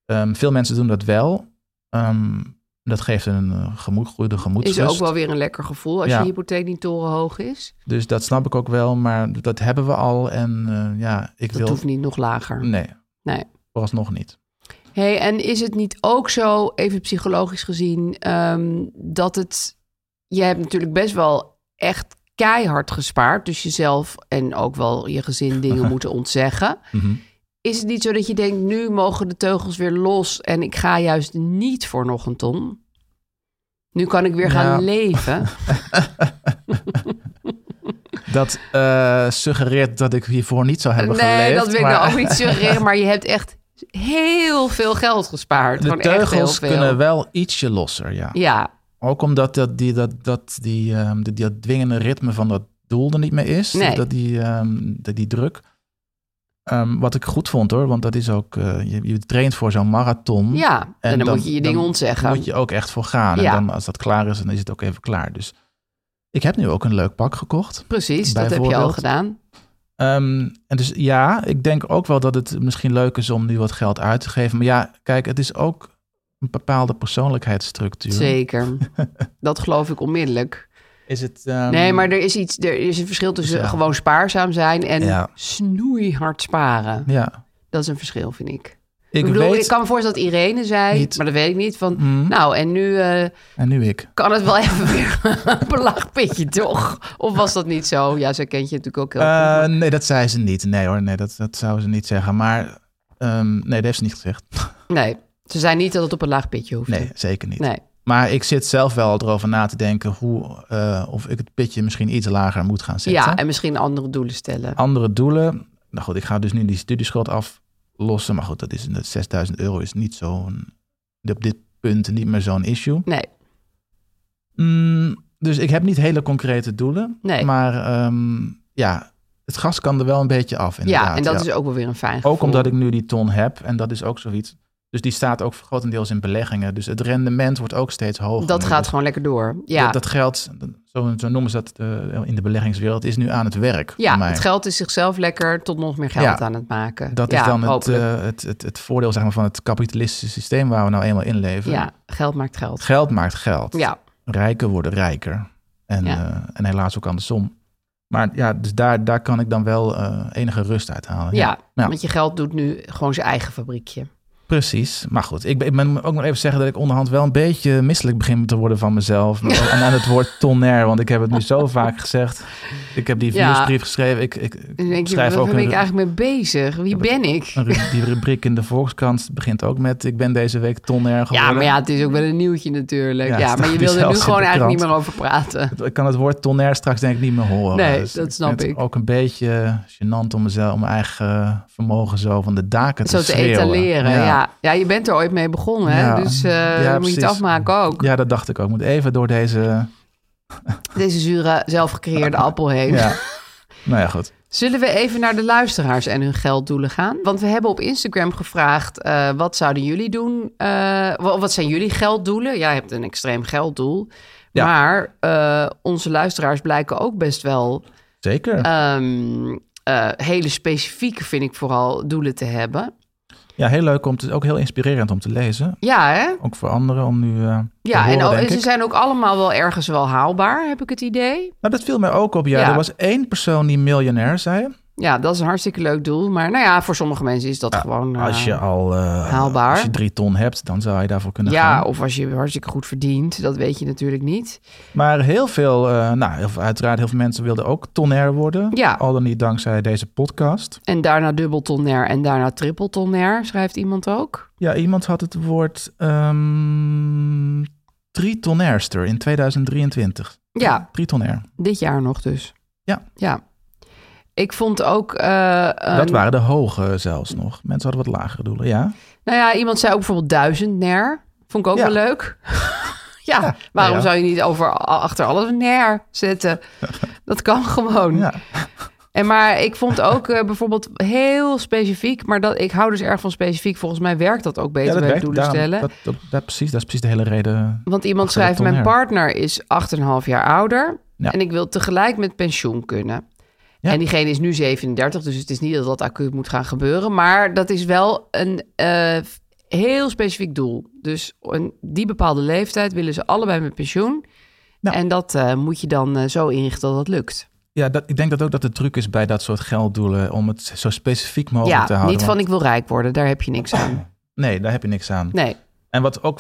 B: Ehm, veel mensen doen dat wel. Ehm, dat geeft een eh, gemoed, goede
C: is
B: gemoedsrust.
C: ook wel weer een lekker gevoel als
B: Ja.
C: je hypotheek niet torenhoog is.
B: Dus dat snap ik ook wel. Maar dat hebben we al. En eh, ja, ik
C: Dat
B: wil...
C: hoeft niet nog lager.
B: Nee.
C: Nee.
B: Vooralsnog niet.
C: hey, en is het niet ook zo, even psychologisch gezien, ehm, dat het... Je hebt natuurlijk best wel echt keihard gespaard. Dus jezelf en ook wel je gezin dingen moeten ontzeggen.
B: Mhm.
C: Is het niet zo dat je denkt, nu mogen de teugels weer los... en ik ga juist niet voor nog een ton? Nu kan ik weer gaan
B: Nou.
C: leven.
B: Dat eh, suggereert dat ik hiervoor niet zou hebben geleefd.
C: nee, dat wil ik
B: maar
C: nou ook niet suggereren. Maar je hebt echt heel veel geld gespaard.
B: De
C: Gewoon echt heel
B: teugels
C: veel.
B: kunnen wel ietsje losser, ja.
C: Ja,
B: Ook omdat dat, die, dat, dat, die, ehm, die, dat dwingende ritme van dat doel er niet meer is.
C: Nee.
B: Dat die, ehm, dat die druk. Ehm, wat ik goed vond hoor, want dat is ook, eh, je, je traint voor zo'n marathon.
C: ja. En, dan, moet je je dingen
B: Hm. dan
C: ontzeggen.
B: moet je ook echt voor gaan.
C: Ja.
B: En dan als dat klaar is, dan is het ook even klaar. Dus ik heb nu ook een leuk pak gekocht.
C: Precies, dat heb je al
B: bijvoorbeeld.
C: gedaan.
B: Ehm, en dus ja, ik denk ook wel dat het misschien leuk is om nu wat geld uit te geven. Maar ja, kijk, het is ook een bepaalde persoonlijkheidsstructuur.
C: Zeker. dat geloof ik onmiddellijk.
B: Is het, ehm,
C: nee, maar er is, iets, er is een verschil tussen
B: ja.
C: gewoon spaarzaam zijn en
B: Ja.
C: snoeihard sparen.
B: Ja,
C: Dat is een verschil, vind ik.
B: ik
C: Ik, bedoel,
B: weet...
C: ik kan me voorstellen dat Irene zei,
B: niet-
C: maar dat weet ik niet, van
B: Mhm.
C: nou en nu eh,
B: En nu ik.
C: kan het wel even weer een belachpitje toch? Of was dat niet zo? Ja, ze kent je natuurlijk ook heel goed.
B: Eh,
C: maar-
B: nee, dat zei ze niet. Nee hoor, nee, dat, dat zou ze niet zeggen. Maar ehm, nee, dat heeft ze niet gezegd.
C: Nee, ze zei niet dat het op een laag pitje hoeft.
B: Nee, zeker niet.
C: nee.
B: Maar ik zit zelf wel erover na te denken hoe, eh, of ik het pitje misschien iets lager moet gaan zetten.
C: Ja, en misschien andere doelen stellen.
B: Andere doelen. Nou goed, ik ga dus nu die studieschuld aflossen. Maar goed, dat is dat 6000 euro is niet zo'n. Op dit punt niet meer zo'n issue.
C: Nee,
B: Mm, dus ik heb niet hele concrete doelen.
C: nee.
B: Maar ehm, ja, het gas kan er wel een beetje af. Inderdaad,
C: ja, en dat is ook wel weer een fijn gevoel.
B: Ook omdat ik nu die ton heb en dat is ook zoiets. Dus die staat ook grotendeels in beleggingen. Dus het rendement wordt ook steeds hoger.
C: Dat
B: Dus
C: gaat gewoon lekker door. Ja,
B: Dat, dat geld, zo, zo noemen ze dat eh, in de beleggingswereld, is nu aan het werk.
C: ja
B: voor mij.
C: het geld is zichzelf lekker tot nog meer geld
B: Ja,
C: aan het maken.
B: Dat
C: ja,
B: is dan het,
C: hopelijk.
B: eh, het, het, het voordeel zeg maar, van het kapitalistische systeem waar we nou eenmaal in leven.
C: ja, geld maakt geld.
B: Geld maakt geld.
C: Ja,
B: Rijken worden rijker. En,
C: Ja.
B: eh, en helaas ook andersom. Maar ja, dus daar, daar kan ik dan wel eh, enige rust uit halen.
C: ja,
B: Nou.
C: want je geld doet nu gewoon zijn eigen fabriekje.
B: Precies, maar goed. Ik ben- ik ben ook nog even zeggen dat ik onderhand wel een beetje misselijk begin te worden van mezelf. Maar- En aan het woord tonner, want ik heb het nu zo vaak gezegd. Ik heb die
C: Ja.
B: nieuwsbrief geschreven. Ik, ik,
C: Dan denk je,
B: schrijf
C: waar
B: ook
C: ben
B: een,
C: ik eigenlijk mee bezig? Wie
B: Ja, maar-
C: ben ik?
B: een ru- die rubriek in de Volkskrant begint ook met... Ik ben deze week tonner geworden.
C: Ja, maar ja, het is ook wel een nieuwtje natuurlijk.
B: Ja,
C: Ja,
B: het
C: maar je
B: staat
C: wil er nu
B: zelfs in
C: gewoon
B: de
C: eigenlijk niet
B: krant.
C: meer over praten.
B: Ik kan het woord tonner straks denk ik niet meer horen. Dus
C: Nee, dat snap
B: vind
C: ik.
B: Het ook een beetje gênant om mezelf, om mijn eigen vermogen zo van de daken te
C: Zo te
B: schreeuwen.
C: etaleren, ja. ja. je bent er ooit mee begonnen, hè?
B: Ja.
C: dus eh
B: Ja,
C: dan moet je het
B: precies.
C: afmaken ook.
B: Ja, dat dacht ik ook. Ik moet even door deze...
C: Deze zure, zelfgecreëerde appel heen.
B: Ja. nou ja, goed.
C: Zullen we even naar de luisteraars en hun gelddoelen gaan? Want we hebben op Instagram gevraagd, eh, wat zouden jullie doen? eh, wa- wat zijn jullie gelddoelen? Jij hebt een extreem gelddoel.
B: Ja.
C: Maar eh, onze luisteraars blijken ook best wel Eh,
B: Zeker.
C: ehm, eh, hele specifieke, vind ik vooral, doelen te hebben.
B: Ja, heel leuk om te, ook heel inspirerend om te lezen.
C: Ja, hè?
B: Ook voor anderen om nu. eh,
C: Ja,
B: te horen,
C: en al-
B: denk
C: ze
B: ik.
C: zijn ook allemaal wel ergens wel haalbaar, heb ik het idee.
B: Nou, dat viel mij ook op. Ja,
C: Ja.
B: er was één persoon die miljonair zei.
C: Ja, dat is een hartstikke leuk doel. Maar nou ja, voor sommige mensen is dat gewoon... eh,
B: als je al eh,
C: haalbaar.
B: Als je drie ton hebt, dan zou je daarvoor kunnen
C: ja,
B: gaan.
C: of als je hartstikke goed verdient, dat weet je natuurlijk niet.
B: Maar heel veel, eh, nou, heel veel- uiteraard, heel veel mensen wilden ook tonair worden.
C: Ja.
B: Al dan niet dankzij deze podcast.
C: En daarna dubbeltonair en daarna trippeltonair, schrijft iemand ook.
B: Ja, iemand had het woord ehm tritonairster in 2023.
C: Ja,
B: Tritonair.
C: dit jaar nog dus.
B: Ja.
C: Ja. Ik vond ook... eh, een-
B: dat waren de hoge zelfs nog. Mensen hadden wat lagere doelen, ja.
C: Nou ja, iemand zei ook bijvoorbeeld duizendnair. Vond ik ook
B: Ja.
C: wel leuk. ja,
B: Ja,
C: waarom
B: ja.
C: zou je niet over, achter alles een nair zetten? dat kan gewoon.
B: ja.
C: En maar ik vond ook eh, bijvoorbeeld heel specifiek, maar dat, ik hou dus erg van specifiek. Volgens mij werkt dat ook beter bij doelen
B: Daarom-
C: stellen.
B: Dat, dat, dat precies, dat is precies de hele reden.
C: Want iemand
B: Achter de
C: schrijft, mijn
B: tonair.
C: partner is 8,5 jaar ouder
B: Ja.
C: en ik wil tegelijk met pensioen kunnen.
B: Ja.
C: En diegene is nu 37, dus het is niet dat dat acuut moet gaan gebeuren. Maar dat is wel een eh, heel specifiek doel. Dus een, die bepaalde leeftijd willen ze allebei met pensioen.
B: Nou.
C: En dat eh, moet je dan eh, zo inrichten dat dat lukt.
B: Ja, dat, ik denk dat ook dat de truc is bij dat soort gelddoelen om het zo specifiek mogelijk te
C: ja,
B: houden.
C: niet van ik wil rijk worden, daar heb je niks aan.
B: Nee, daar heb je niks aan.
C: Nee.
B: En wat ook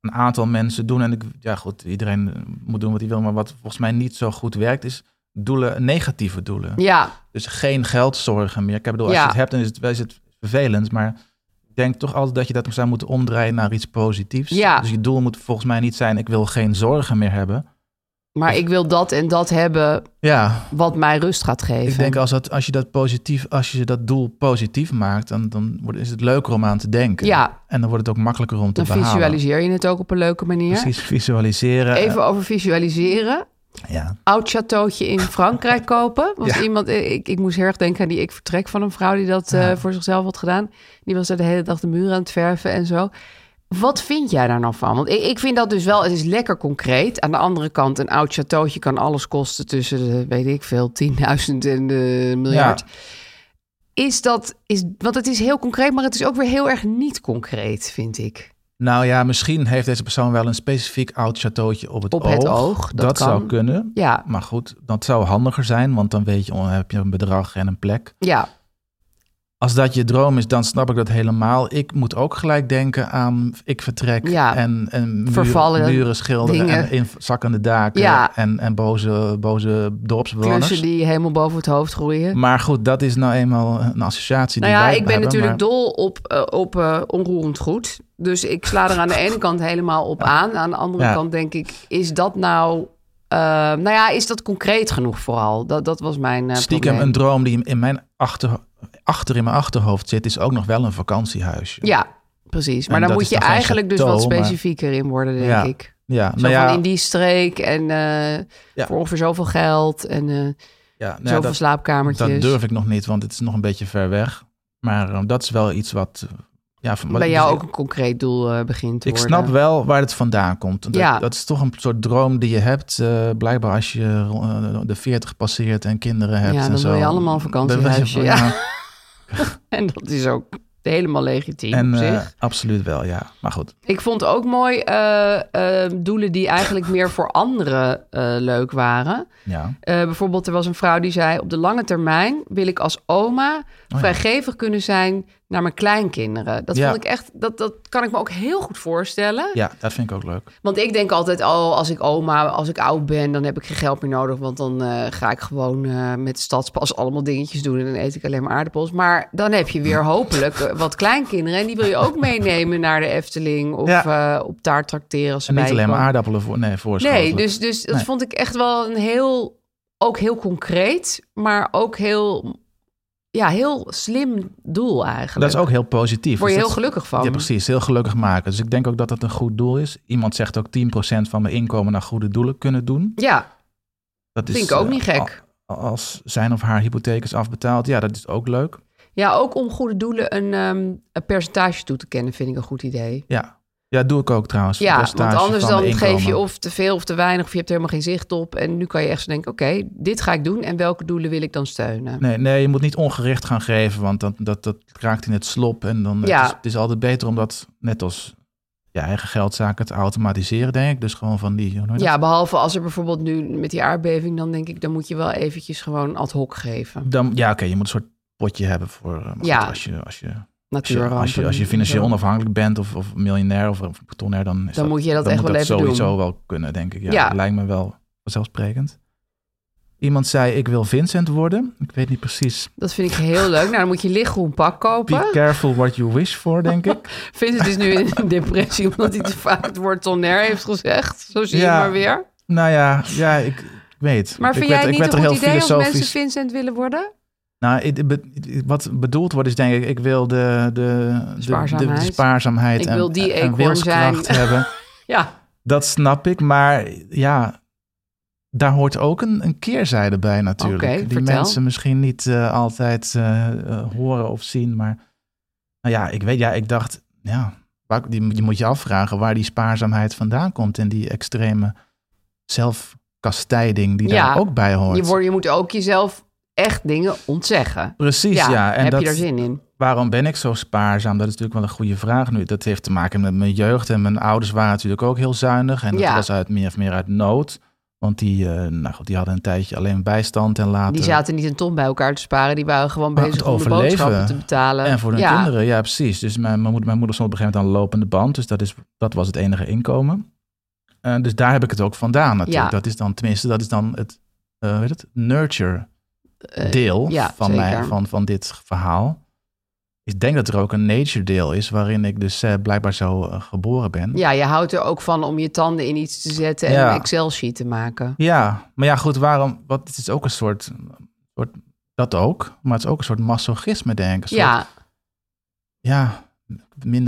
B: een aantal mensen doen, en ik, ja goed, iedereen moet doen wat hij wil, maar wat volgens mij niet zo goed werkt, is doelen, negatieve doelen.
C: Ja,
B: Dus geen geldzorgen meer. Ik bedoel, als
C: Ja.
B: je het hebt, dan is het, is het vervelend, maar ik denk toch altijd dat je dat zou moeten omdraaien naar iets positiefs.
C: Ja.
B: Dus je doel moet volgens mij niet zijn, ik wil geen zorgen meer hebben.
C: maar ik wil dat en dat hebben
B: Ja,
C: wat mij rust gaat geven.
B: ik denk als, dat, als, je dat positief, als je dat doel positief maakt, dan, dan wordt, is het leuker om aan te denken.
C: Ja.
B: En dan wordt het ook makkelijker om te
C: Dan
B: behalen.
C: visualiseer je het ook op een leuke manier.
B: Precies, visualiseren.
C: Even over visualiseren.
B: Eh, Ja.
C: Oud chateautje in Frankrijk kopen. Want
B: Ja.
C: iemand, eh, ik, ik moest heel erg denken aan die ik vertrek van een vrouw die dat eh, voor zichzelf had gedaan. Die was daar de hele dag de muren aan het verven en zo. Wat vind jij daar nou van? Want ik, ik vind dat dus wel, het is lekker concreet. Aan de andere kant, een oud chateautje kan alles kosten tussen, de, weet ik veel, 10.000 en eh miljard. Is dat, is, want het is heel concreet, maar het is ook weer heel erg niet concreet, vind ik.
B: Nou ja, misschien heeft deze persoon wel een specifiek oud chateautje op het
C: Op
B: oog.
C: het oog, dat kan.
B: zou kunnen.
C: Ja,
B: Maar goed, dat zou handiger zijn, want dan weet je, oh, heb je een bedrag en een plek.
C: ja.
B: Als dat je droom is, dan snap ik dat helemaal. Ik moet ook gelijk denken aan ik vertrek
C: Ja.
B: en, en muren,
C: Vervallen
B: muren schilderen
C: dingen.
B: en in, zakkende daken
C: Ja.
B: en, en boze, boze dorpsbewoners.
C: Klussen die helemaal boven het hoofd groeien.
B: Maar goed, dat is nou eenmaal een associatie
C: Nou
B: die
C: ja,
B: wij
C: ik ben
B: hebben,
C: natuurlijk
B: maar-
C: dol op, eh, op eh, onroerend goed. Dus ik sla er aan de ene kant helemaal op aan. Aan de andere
B: Ja.
C: kant denk ik, is dat nou... eh, nou ja, is dat concreet genoeg vooral? Dat, dat was mijn eh,
B: Stiekem
C: probleem.
B: een droom die in mijn achter, achter in mijn achterhoofd zit, is ook nog wel een vakantiehuisje.
C: Ja, precies. Maar
B: En
C: dan
B: dat
C: moet
B: is
C: je
B: dan geen
C: eigenlijk dus wat
B: chateau, maar-
C: specifieker in worden, denk
B: Ja.
C: ik.
B: ja
C: Zo
B: nou ja,
C: van in die streek en eh,
B: Ja.
C: voor ongeveer zoveel geld en eh,
B: ja, nou ja,
C: zoveel
B: dat-
C: slaapkamertjes.
B: Dat durf ik nog niet, want het is nog een beetje ver weg. Maar ehm, dat is wel iets wat. eh, Ja, van- wat-
C: Bij jou
B: dus
C: ook een concreet doel eh, begint te
B: Ik, ik
C: worden.
B: snap wel waar het vandaan komt. Dat,
C: Ja.
B: dat is toch een soort droom die je hebt. eh, blijkbaar als je eh, de 40 passeert en kinderen hebt.
C: Ja,
B: en
C: dan
B: zo.
C: wil je allemaal een vakantiehuisje,
B: Dan wil je-
C: ja. En dat is ook helemaal legitiem
B: En
C: op
B: eh,
C: zich.
B: absoluut wel, ja. Maar goed.
C: Ik vond ook mooi eh, eh, doelen die eigenlijk meer voor anderen eh, leuk waren.
B: Ja.
C: Eh, bijvoorbeeld, er was een vrouw die zei: Op de lange termijn wil ik als oma vrijgevig kunnen zijn naar mijn kleinkinderen. Dat
B: Ja.
C: vond ik echt, dat, dat kan ik me ook heel goed voorstellen.
B: ja, dat vind ik ook leuk.
C: Want ik denk altijd: Oh, als ik oma, als ik oud ben, dan heb ik geen geld meer nodig. Want dan eh, ga ik gewoon eh, met de stadspas allemaal dingetjes doen en dan eet ik alleen maar aardappels. Maar dan heb je weer hopelijk eh, wat kleinkinderen. En die wil je ook meenemen naar de Efteling of eh, op taart trakteren. Als ze
B: En niet
C: bij je
B: alleen maar
C: komen.
B: aardappelen voor. Nee,
C: Nee,
B: voorschotelen.
C: dus, dus dat
B: Nee.
C: vond ik echt wel een heel, ook heel concreet, maar ook heel, ja, heel slim doel eigenlijk.
B: Dat is ook heel positief.
C: Word je
B: Dus
C: heel
B: dat-
C: gelukkig van.
B: Ja, precies. Heel gelukkig maken. Dus ik denk ook dat dat een goed doel is. Iemand zegt ook 10% van mijn inkomen naar goede doelen kunnen doen.
C: Ja,
B: Dat
C: Vind ik ook
B: eh,
C: niet gek.
B: a- Als zijn of haar hypotheek is afbetaald, ja, dat is ook leuk.
C: ja, ook om goede doelen een, ehm, een percentage toe te kennen, vind ik een goed idee.
B: Ja, ja dat doe ik ook trouwens.
C: Ja, want
B: Percentage
C: anders
B: van de
C: dan geef je
B: inkomen.
C: of te veel of te weinig, of je hebt er helemaal geen zicht op. En nu kan je echt zo denken, oké, dit ga ik doen en welke doelen wil ik dan steunen?
B: Nee, nee, je moet niet ongericht gaan geven, want dat, dat, dat raakt in het slop. En dan
C: Ja.
B: het is het is altijd beter om dat, net als je eigen geldzaken, te automatiseren, denk ik. Dus gewoon van die... hoe noem je dat?
C: Ja, behalve als er bijvoorbeeld nu met die aardbeving, dan denk ik, dan moet je wel eventjes gewoon ad hoc geven.
B: Dan, ja, oké, je moet een soort potje hebben voor... eh, maar
C: Ja.
B: goed, als, je, als, je, als, je,
C: Natuurrampen.
B: als, je, als je financieel onafhankelijk bent of, of miljonair of, of tonair, dan is dat,
C: Dan moet je dat
B: dan
C: echt
B: moet
C: wel even
B: dat
C: doen.
B: sowieso wel kunnen, denk ik. Ja,
C: Ja.
B: dat lijkt me wel vanzelfsprekend. Iemand zei, ik wil Vincent worden. Ik weet niet precies.
C: Dat vind ik heel leuk. Nou, dan moet je lichtgroen pak
B: Be
C: kopen.
B: careful what you wish for, denk ik.
C: Vincent is nu in een depressie omdat hij te vaak het woord tonner heeft gezegd. Zo zie je
B: Ja.
C: maar weer.
B: nou ja, ja ik, ik weet.
C: Maar
B: ik
C: vind
B: werd-
C: jij het
B: ik
C: niet
B: werd
C: een
B: er
C: goed
B: heel
C: idee als
B: filosofisch-
C: mensen Vincent willen worden?
B: Nou, ik- be- ik- wat bedoeld wordt is denk ik, ik wil de, de, de- de,
C: Spaarzaamheid.
B: de spaarzaamheid
C: Ik
B: en,
C: wil die
B: en
C: eekhoorn
B: wilskracht
C: zijn.
B: hebben.
C: Ja,
B: Dat snap ik, maar ja, daar hoort ook een, een keerzijde bij natuurlijk.
C: Oké,
B: die
C: vertel.
B: mensen misschien niet eh, altijd eh, eh, horen of zien, maar nou ja, ik weet, ja, ik dacht, ja, waar, die, je moet je afvragen waar die spaarzaamheid vandaan komt en die extreme zelfkastijding die
C: Ja,
B: daar ook bij hoort.
C: je, wordt, je moet ook jezelf echt dingen ontzeggen.
B: Precies, ja.
C: Ja,
B: En
C: heb
B: dat,
C: je daar zin in?
B: waarom ben ik zo spaarzaam? Dat is natuurlijk wel een goede vraag nu. Dat heeft te maken met mijn jeugd. En mijn ouders waren natuurlijk ook heel zuinig. En dat
C: Ja.
B: was uit meer of meer uit nood. Want die, eh, nou goed, die hadden een tijdje alleen bijstand en later...
C: Die zaten niet een ton bij elkaar te sparen. Die waren gewoon
B: Maar
C: bezig
B: het
C: om de
B: overleven
C: boodschappen te betalen.
B: En voor hun
C: ja.
B: kinderen, ja precies. Dus mijn, mijn, moeder, mijn moeder stond op een gegeven moment aan lopende band. Dus dat, is, dat was het enige inkomen. Eh, dus daar heb ik het ook vandaan natuurlijk.
C: Ja.
B: Dat is dan, tenminste, dat is dan het, eh, hoe heet het nurture
C: Eh,
B: deel
C: ja,
B: van, mij,
C: zeker.
B: van, van dit verhaal. Ik denk dat er ook een nature deel is waarin ik dus eh, blijkbaar zo eh, geboren ben.
C: Ja, je houdt er ook van om je tanden in iets te zetten en
B: Ja.
C: een Excel-sheet te maken.
B: Ja, maar ja, goed, waarom? Wat, het is ook een soort, soort. Dat ook, maar het is ook een soort masochisme, denk ik. Een soort,
C: Ja,
B: ja,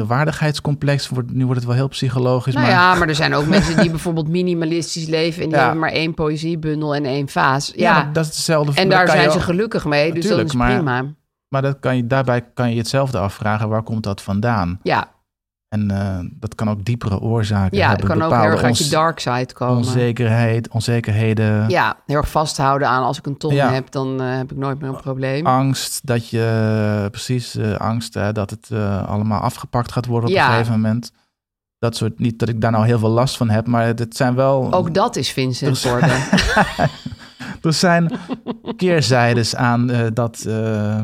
B: minderwaardigheidscomplex. Wordt, nu wordt het wel heel psychologisch.
C: nou
B: maar,
C: ja, maar er zijn ook mensen die bijvoorbeeld minimalistisch leven... en die
B: Ja.
C: hebben maar één poëziebundel en één vaas.
B: Ja,
C: Ja,
B: maar dat is hetzelfde.
C: en
B: maar
C: daar
B: dat kan
C: zijn
B: je
C: ze
B: ook-
C: gelukkig mee, dus dat
B: Natuurlijk,
C: is
B: maar-
C: prima.
B: Maar dat kan je, daarbij kan je hetzelfde afvragen. Waar komt dat vandaan?
C: Ja,
B: En eh, dat kan ook diepere oorzaken
C: ja het
B: hebben.
C: kan ook heel
B: bepaalde
C: erg uit je
B: ons-
C: dark side komen.
B: onzekerheid, onzekerheden,
C: Ja, heel erg vasthouden aan als ik een ton
B: Ja. Oh.
C: heb, dan eh, heb ik nooit meer een probleem.
B: angst dat je precies eh, angst eh, dat het eh, allemaal afgepakt gaat worden op
C: Ja.
B: een gegeven moment. Dat soort niet dat ik daar nou heel veel last van heb, maar het zijn wel
C: Ook dat is Vincent
B: Dus-
C: geworden.
B: er zijn keerzijdes aan eh, dat eh,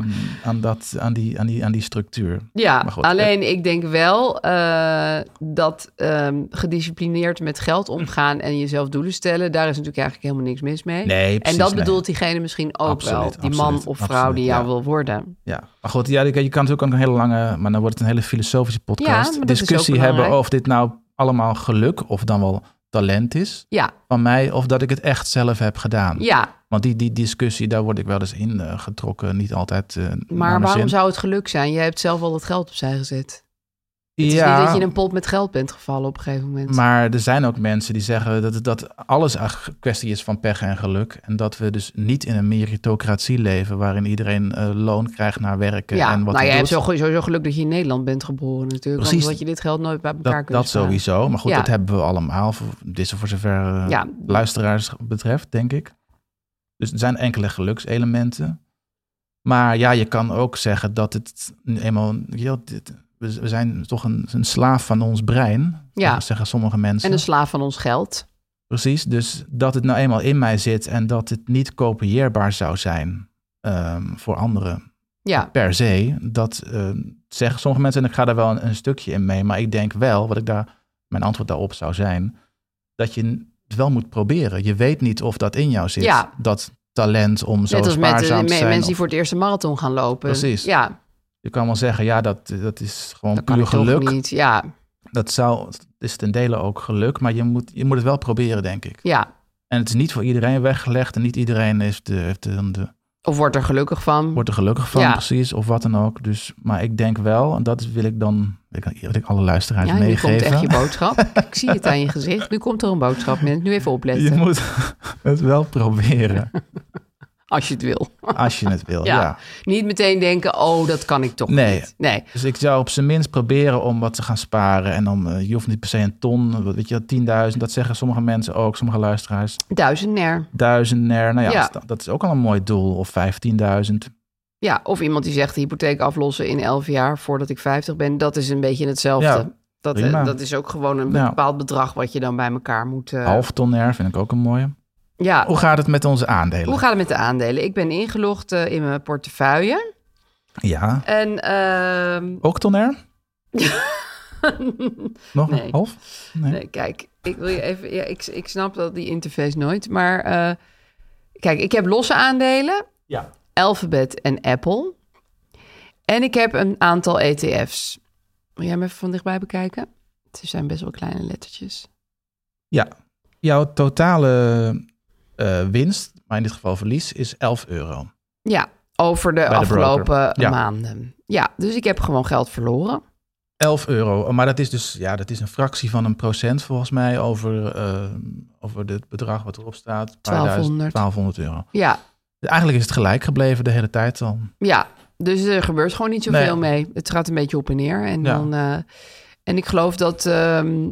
B: aan dat aan die aan die aan die structuur.
C: Ja,
B: Maar goed,
C: alleen ik denk wel eh, dat ehm, gedisciplineerd met geld omgaan en jezelf doelen stellen, daar is natuurlijk eigenlijk helemaal niks mis mee.
B: Nee,
C: en
B: precies,
C: dat
B: nee.
C: bedoelt diegene misschien ook
B: Absoluut,
C: wel, die man
B: absoluut,
C: of vrouw die
B: absoluut,
C: jou
B: ja.
C: wil worden.
B: Ja, maar goed, ja, je kan natuurlijk ook een hele lange, maar dan wordt het een hele filosofische podcast.
C: Ja, maar dat is
B: discussie
C: ook
B: hebben
C: belangrijk.
B: of dit nou allemaal geluk of dan wel talent is
C: Ja,
B: van mij, of dat ik het echt zelf heb gedaan.
C: ja.
B: Want die, die discussie, daar word ik wel eens in eh, getrokken. Niet altijd. eh, naar
C: maar
B: mijn
C: waarom
B: zin.
C: zou het geluk zijn? Je hebt zelf al dat geld opzij gezet. Het is
B: Ja,
C: niet dat je in een pot met geld bent gevallen op een gegeven moment.
B: maar er zijn ook mensen die zeggen dat, dat alles een kwestie is van pech en geluk. En dat we dus niet in een meritocratie leven waarin iedereen eh, loon krijgt naar werken
C: ja,
B: en wat
C: nou,
B: hij
C: jij hebt
B: doet.
C: sowieso sowieso geluk dat je in Nederland bent geboren natuurlijk.
B: Precies.
C: Anders had je dit geld nooit bij elkaar
B: dat
C: kunnen
B: dat
C: sparen.
B: sowieso. Maar goed,
C: dus, eh, Ja.
B: dat hebben we allemaal. Voor- Dit is voor zover eh,
C: Ja.
B: luisteraars betreft, denk ik. Dus er zijn enkele gelukselementen. Maar ja, je kan ook zeggen dat het nu eenmaal. ja, dit- we we zijn toch een, een slaaf van ons brein.
C: Ja.
B: Dat zeggen sommige mensen.
C: En een slaaf van ons geld.
B: Precies. Dus dat het nou eenmaal in mij zit en dat het niet kopieerbaar zou zijn ehm, voor anderen
C: Ja,
B: per se. Dat eh, zeggen sommige mensen, en ik ga daar wel een, een stukje in mee. Maar ik denk wel, wat ik daar, mijn antwoord daarop zou zijn, dat je het wel moet proberen. Je weet niet of dat in jou zit.
C: Ja.
B: Dat talent om zo
C: net als met de
B: spaarzaam
C: me-
B: te zijn.
C: mensen die
B: Of-
C: voor het eerst een marathon gaan lopen.
B: Precies.
C: Ja,
B: Je kan wel zeggen, ja, dat, eh, dat is gewoon
C: Dat kan
B: puur
C: ik toch
B: geluk.
C: niet. Ja,
B: Dat zou, het is ten dele ook geluk, maar je moet, je moet het wel proberen, denk ik.
C: ja.
B: En het is niet voor iedereen weggelegd en niet iedereen heeft de, heeft de, de-
C: Of wordt er gelukkig van.
B: wordt er gelukkig van,
C: Ja.
B: precies, of wat dan ook. Dus, maar ik denk wel, en dat wil ik dan, wil ik, wil ik alle luisteraars
C: ja, nu
B: meegeven.
C: komt echt je boodschap. Ik zie het aan je gezicht. Nu komt er een boodschap, mensen. Nu even
B: Je
C: opletten.
B: moet het wel proberen
C: Als je het wil.
B: als je het wil. Ja.
C: Ja. Niet meteen denken, oh, dat kan ik toch
B: Nee.
C: niet. Nee.
B: Dus ik zou op zijn minst proberen om wat te gaan sparen. En dan, eh, je hoeft niet per se een ton, wat weet je, 10.000. Dat zeggen sommige mensen ook, sommige luisteraars.
C: Duizendner.
B: Duizendner, nou ja,
C: Ja.
B: dat- dat is ook al een mooi doel. Of 15.000.
C: Ja, of iemand die zegt de hypotheek aflossen in elf jaar voordat ik 50 ben. Dat is een beetje hetzelfde.
B: Ja,
C: dat, eh,
B: prima.
C: dat is ook gewoon een
B: Ja.
C: bepaald bedrag wat je dan bij elkaar moet... eh,
B: Half Oh, tonner vind ik ook een mooie.
C: Ja.
B: Hoe gaat het met onze aandelen?
C: Hoe gaat het met de aandelen? Ik ben ingelogd eh, in mijn portefeuille.
B: Ja,
C: En ehm,
B: ook tonner? Nog een
C: Nee.
B: half?
C: Nee, kijk, ik wil je even. Ja, ik, ik snap dat die interface nooit. Maar eh, kijk, ik heb losse aandelen.
B: Ja.
C: Alphabet en Apple. En ik heb een aantal E ETF's. Wil jij hem even van dichtbij bekijken? Het zijn best wel kleine lettertjes.
B: Ja, jouw totale eh, winst, maar in dit geval verlies, is 11 euro.
C: Ja, over de
B: de
C: afgelopen
B: broker. Ja.
C: maanden. Ja, dus ik heb gewoon geld verloren.
B: 11 euro, maar dat is dus ja, dat is een fractie van een procent volgens mij over, eh, over het bedrag wat erop staat. Een paar duizend-
C: 1200.
B: 1200 euro.
C: Ja,
B: Eigenlijk is het gelijk gebleven de hele tijd al.
C: ja. Dus er gebeurt gewoon niet zoveel
B: Nee.
C: mee. Het gaat een beetje op en neer. En,
B: Ja.
C: dan, eh, en ik geloof dat. ehm,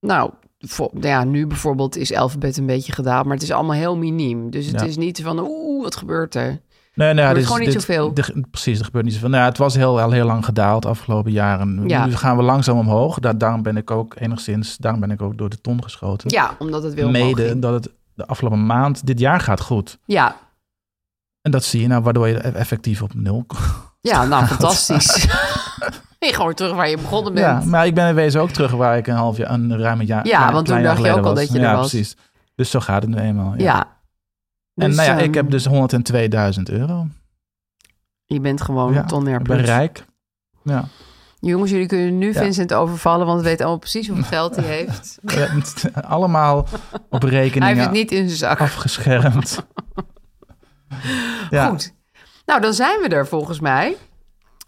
C: nou, voor, nou ja, nu bijvoorbeeld is alfabet een beetje gedaald. Maar het is allemaal heel miniem. Dus het
B: Ja.
C: is niet van. Oeh, wat gebeurt er?
B: Nee, nee,
C: gebeurt
B: dit is-
C: gewoon niet
B: dit-
C: zoveel.
B: dit- precies, er gebeurt niet zoveel. Nou, ja, het was heel, al heel lang gedaald de afgelopen jaren.
C: Ja.
B: Nu gaan we langzaam omhoog. Da- daarom ben ik ook enigszins, daarom ben ik ook door de ton geschoten.
C: Ja, omdat het wil omhoog
B: Mede
C: ging.
B: dat het de afgelopen maand, dit jaar gaat goed.
C: Ja,
B: En dat zie je nou, waardoor je effectief op nul komt.
C: ja nou fantastisch. je gewoon terug waar je begonnen bent.
B: Ja, maar ik ben in wezen ook terug waar ik een half jaar, een ruim een jaar.
C: Ja,
B: klein-
C: want toen
B: klein jaar
C: dacht je
B: geleden
C: ook al dat je
B: ja,
C: er was.
B: precies. Dus zo gaat het nu eenmaal. Ja.
C: ja.
B: en
C: Dus,
B: nou ja,
C: ehm,
B: ik heb dus 102.000 euro.
C: Je bent gewoon
B: Ja,
C: een ton meer
B: Ik ben
C: plus.
B: rijk. Ja.
C: Jongens, jullie kunnen nu
B: Ja.
C: Vincent overvallen, want we weten allemaal precies hoeveel geld hij heeft.
B: Ja, het- Allemaal op rekeningen
C: Hij heeft het niet in zijn
B: Oh.
C: zak.
B: afgeschermd. Ja.
C: Goed. Nou, dan zijn we er volgens mij.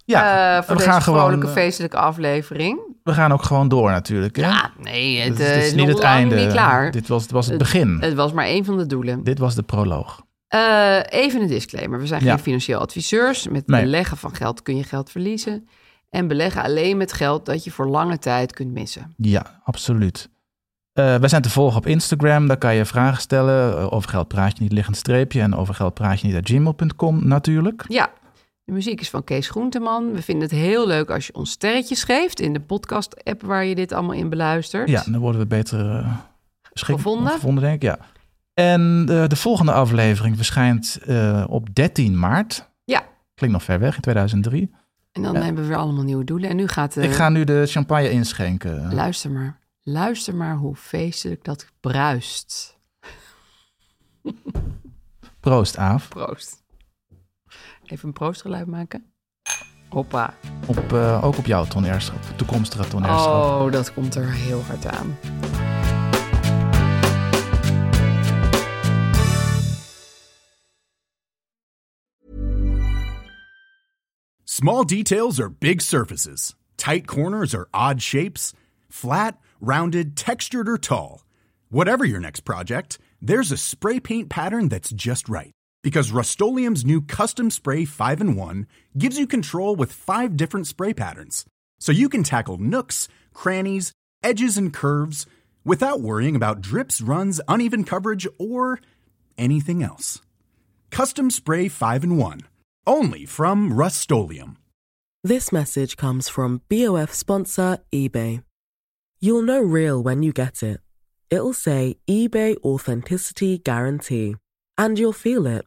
B: Ja,
C: eh, voor
B: we
C: deze
B: gaan
C: vrolijke
B: gewoon, eh,
C: feestelijke aflevering.
B: we gaan ook gewoon door natuurlijk. Hè?
C: Ja, nee, het,
B: Dit is- dit
C: eh,
B: is
C: is nog lang niet klaar.
B: Dit was, dit was het
C: Het-
B: begin.
C: Het was maar één van de doelen.
B: Dit was de proloog.
C: Eh, even een disclaimer. We zijn
B: Ja.
C: geen financieel adviseurs. Met
B: Nee.
C: beleggen van geld kun je geld verliezen. En beleggen alleen met geld dat je voor lange tijd kunt missen.
B: Ja, absoluut. Eh wij zijn te volgen op Instagram. Daar kan je vragen stellen. eh, Over geld praat je niet, liggend streepje. En over geld praat je niet, at gmail.com natuurlijk.
C: Ja, de muziek is van Kees Groenteman. We vinden het heel leuk als je ons sterretjes geeft in de podcast-app waar je dit allemaal in beluistert.
B: Ja, dan worden we beter eh, beschik-
C: Gevonden.
B: gevonden, denk ik. Ja. En eh, de volgende aflevering verschijnt eh, op 13 maart.
C: Ja.
B: Klinkt nog ver weg, in 2003.
C: En dan
B: Ja.
C: hebben we weer allemaal nieuwe doelen. En nu gaat eh, de...
B: Ik ga nu de champagne inschenken.
C: Luister maar. Luister maar hoe feestelijk dat bruist.
B: Proost, Aaf.
C: Proost. Even een proostgeluid maken. Hoppa.
B: Op, eh, ook op jouw toneerschap, toekomstige toneerschap.
C: Oh, dat komt er heel hard aan.
D: Small details are big surfaces. Tight corners are odd shapes. Flat, rounded, textured, or tall. Whatever your next project, there's a spray paint pattern that's just right. Because Rust new Custom Spray 5 in 1 gives you control with five different spray patterns. So you can tackle nooks, crannies, edges, and curves without worrying about drips, runs, uneven coverage, or anything else. Custom Spray 5 in 1. Only from Rust
E: This message comes from BOF sponsor eBay. You'll know real when you get it. It'll say eBay Authenticity Guarantee. And you'll feel it.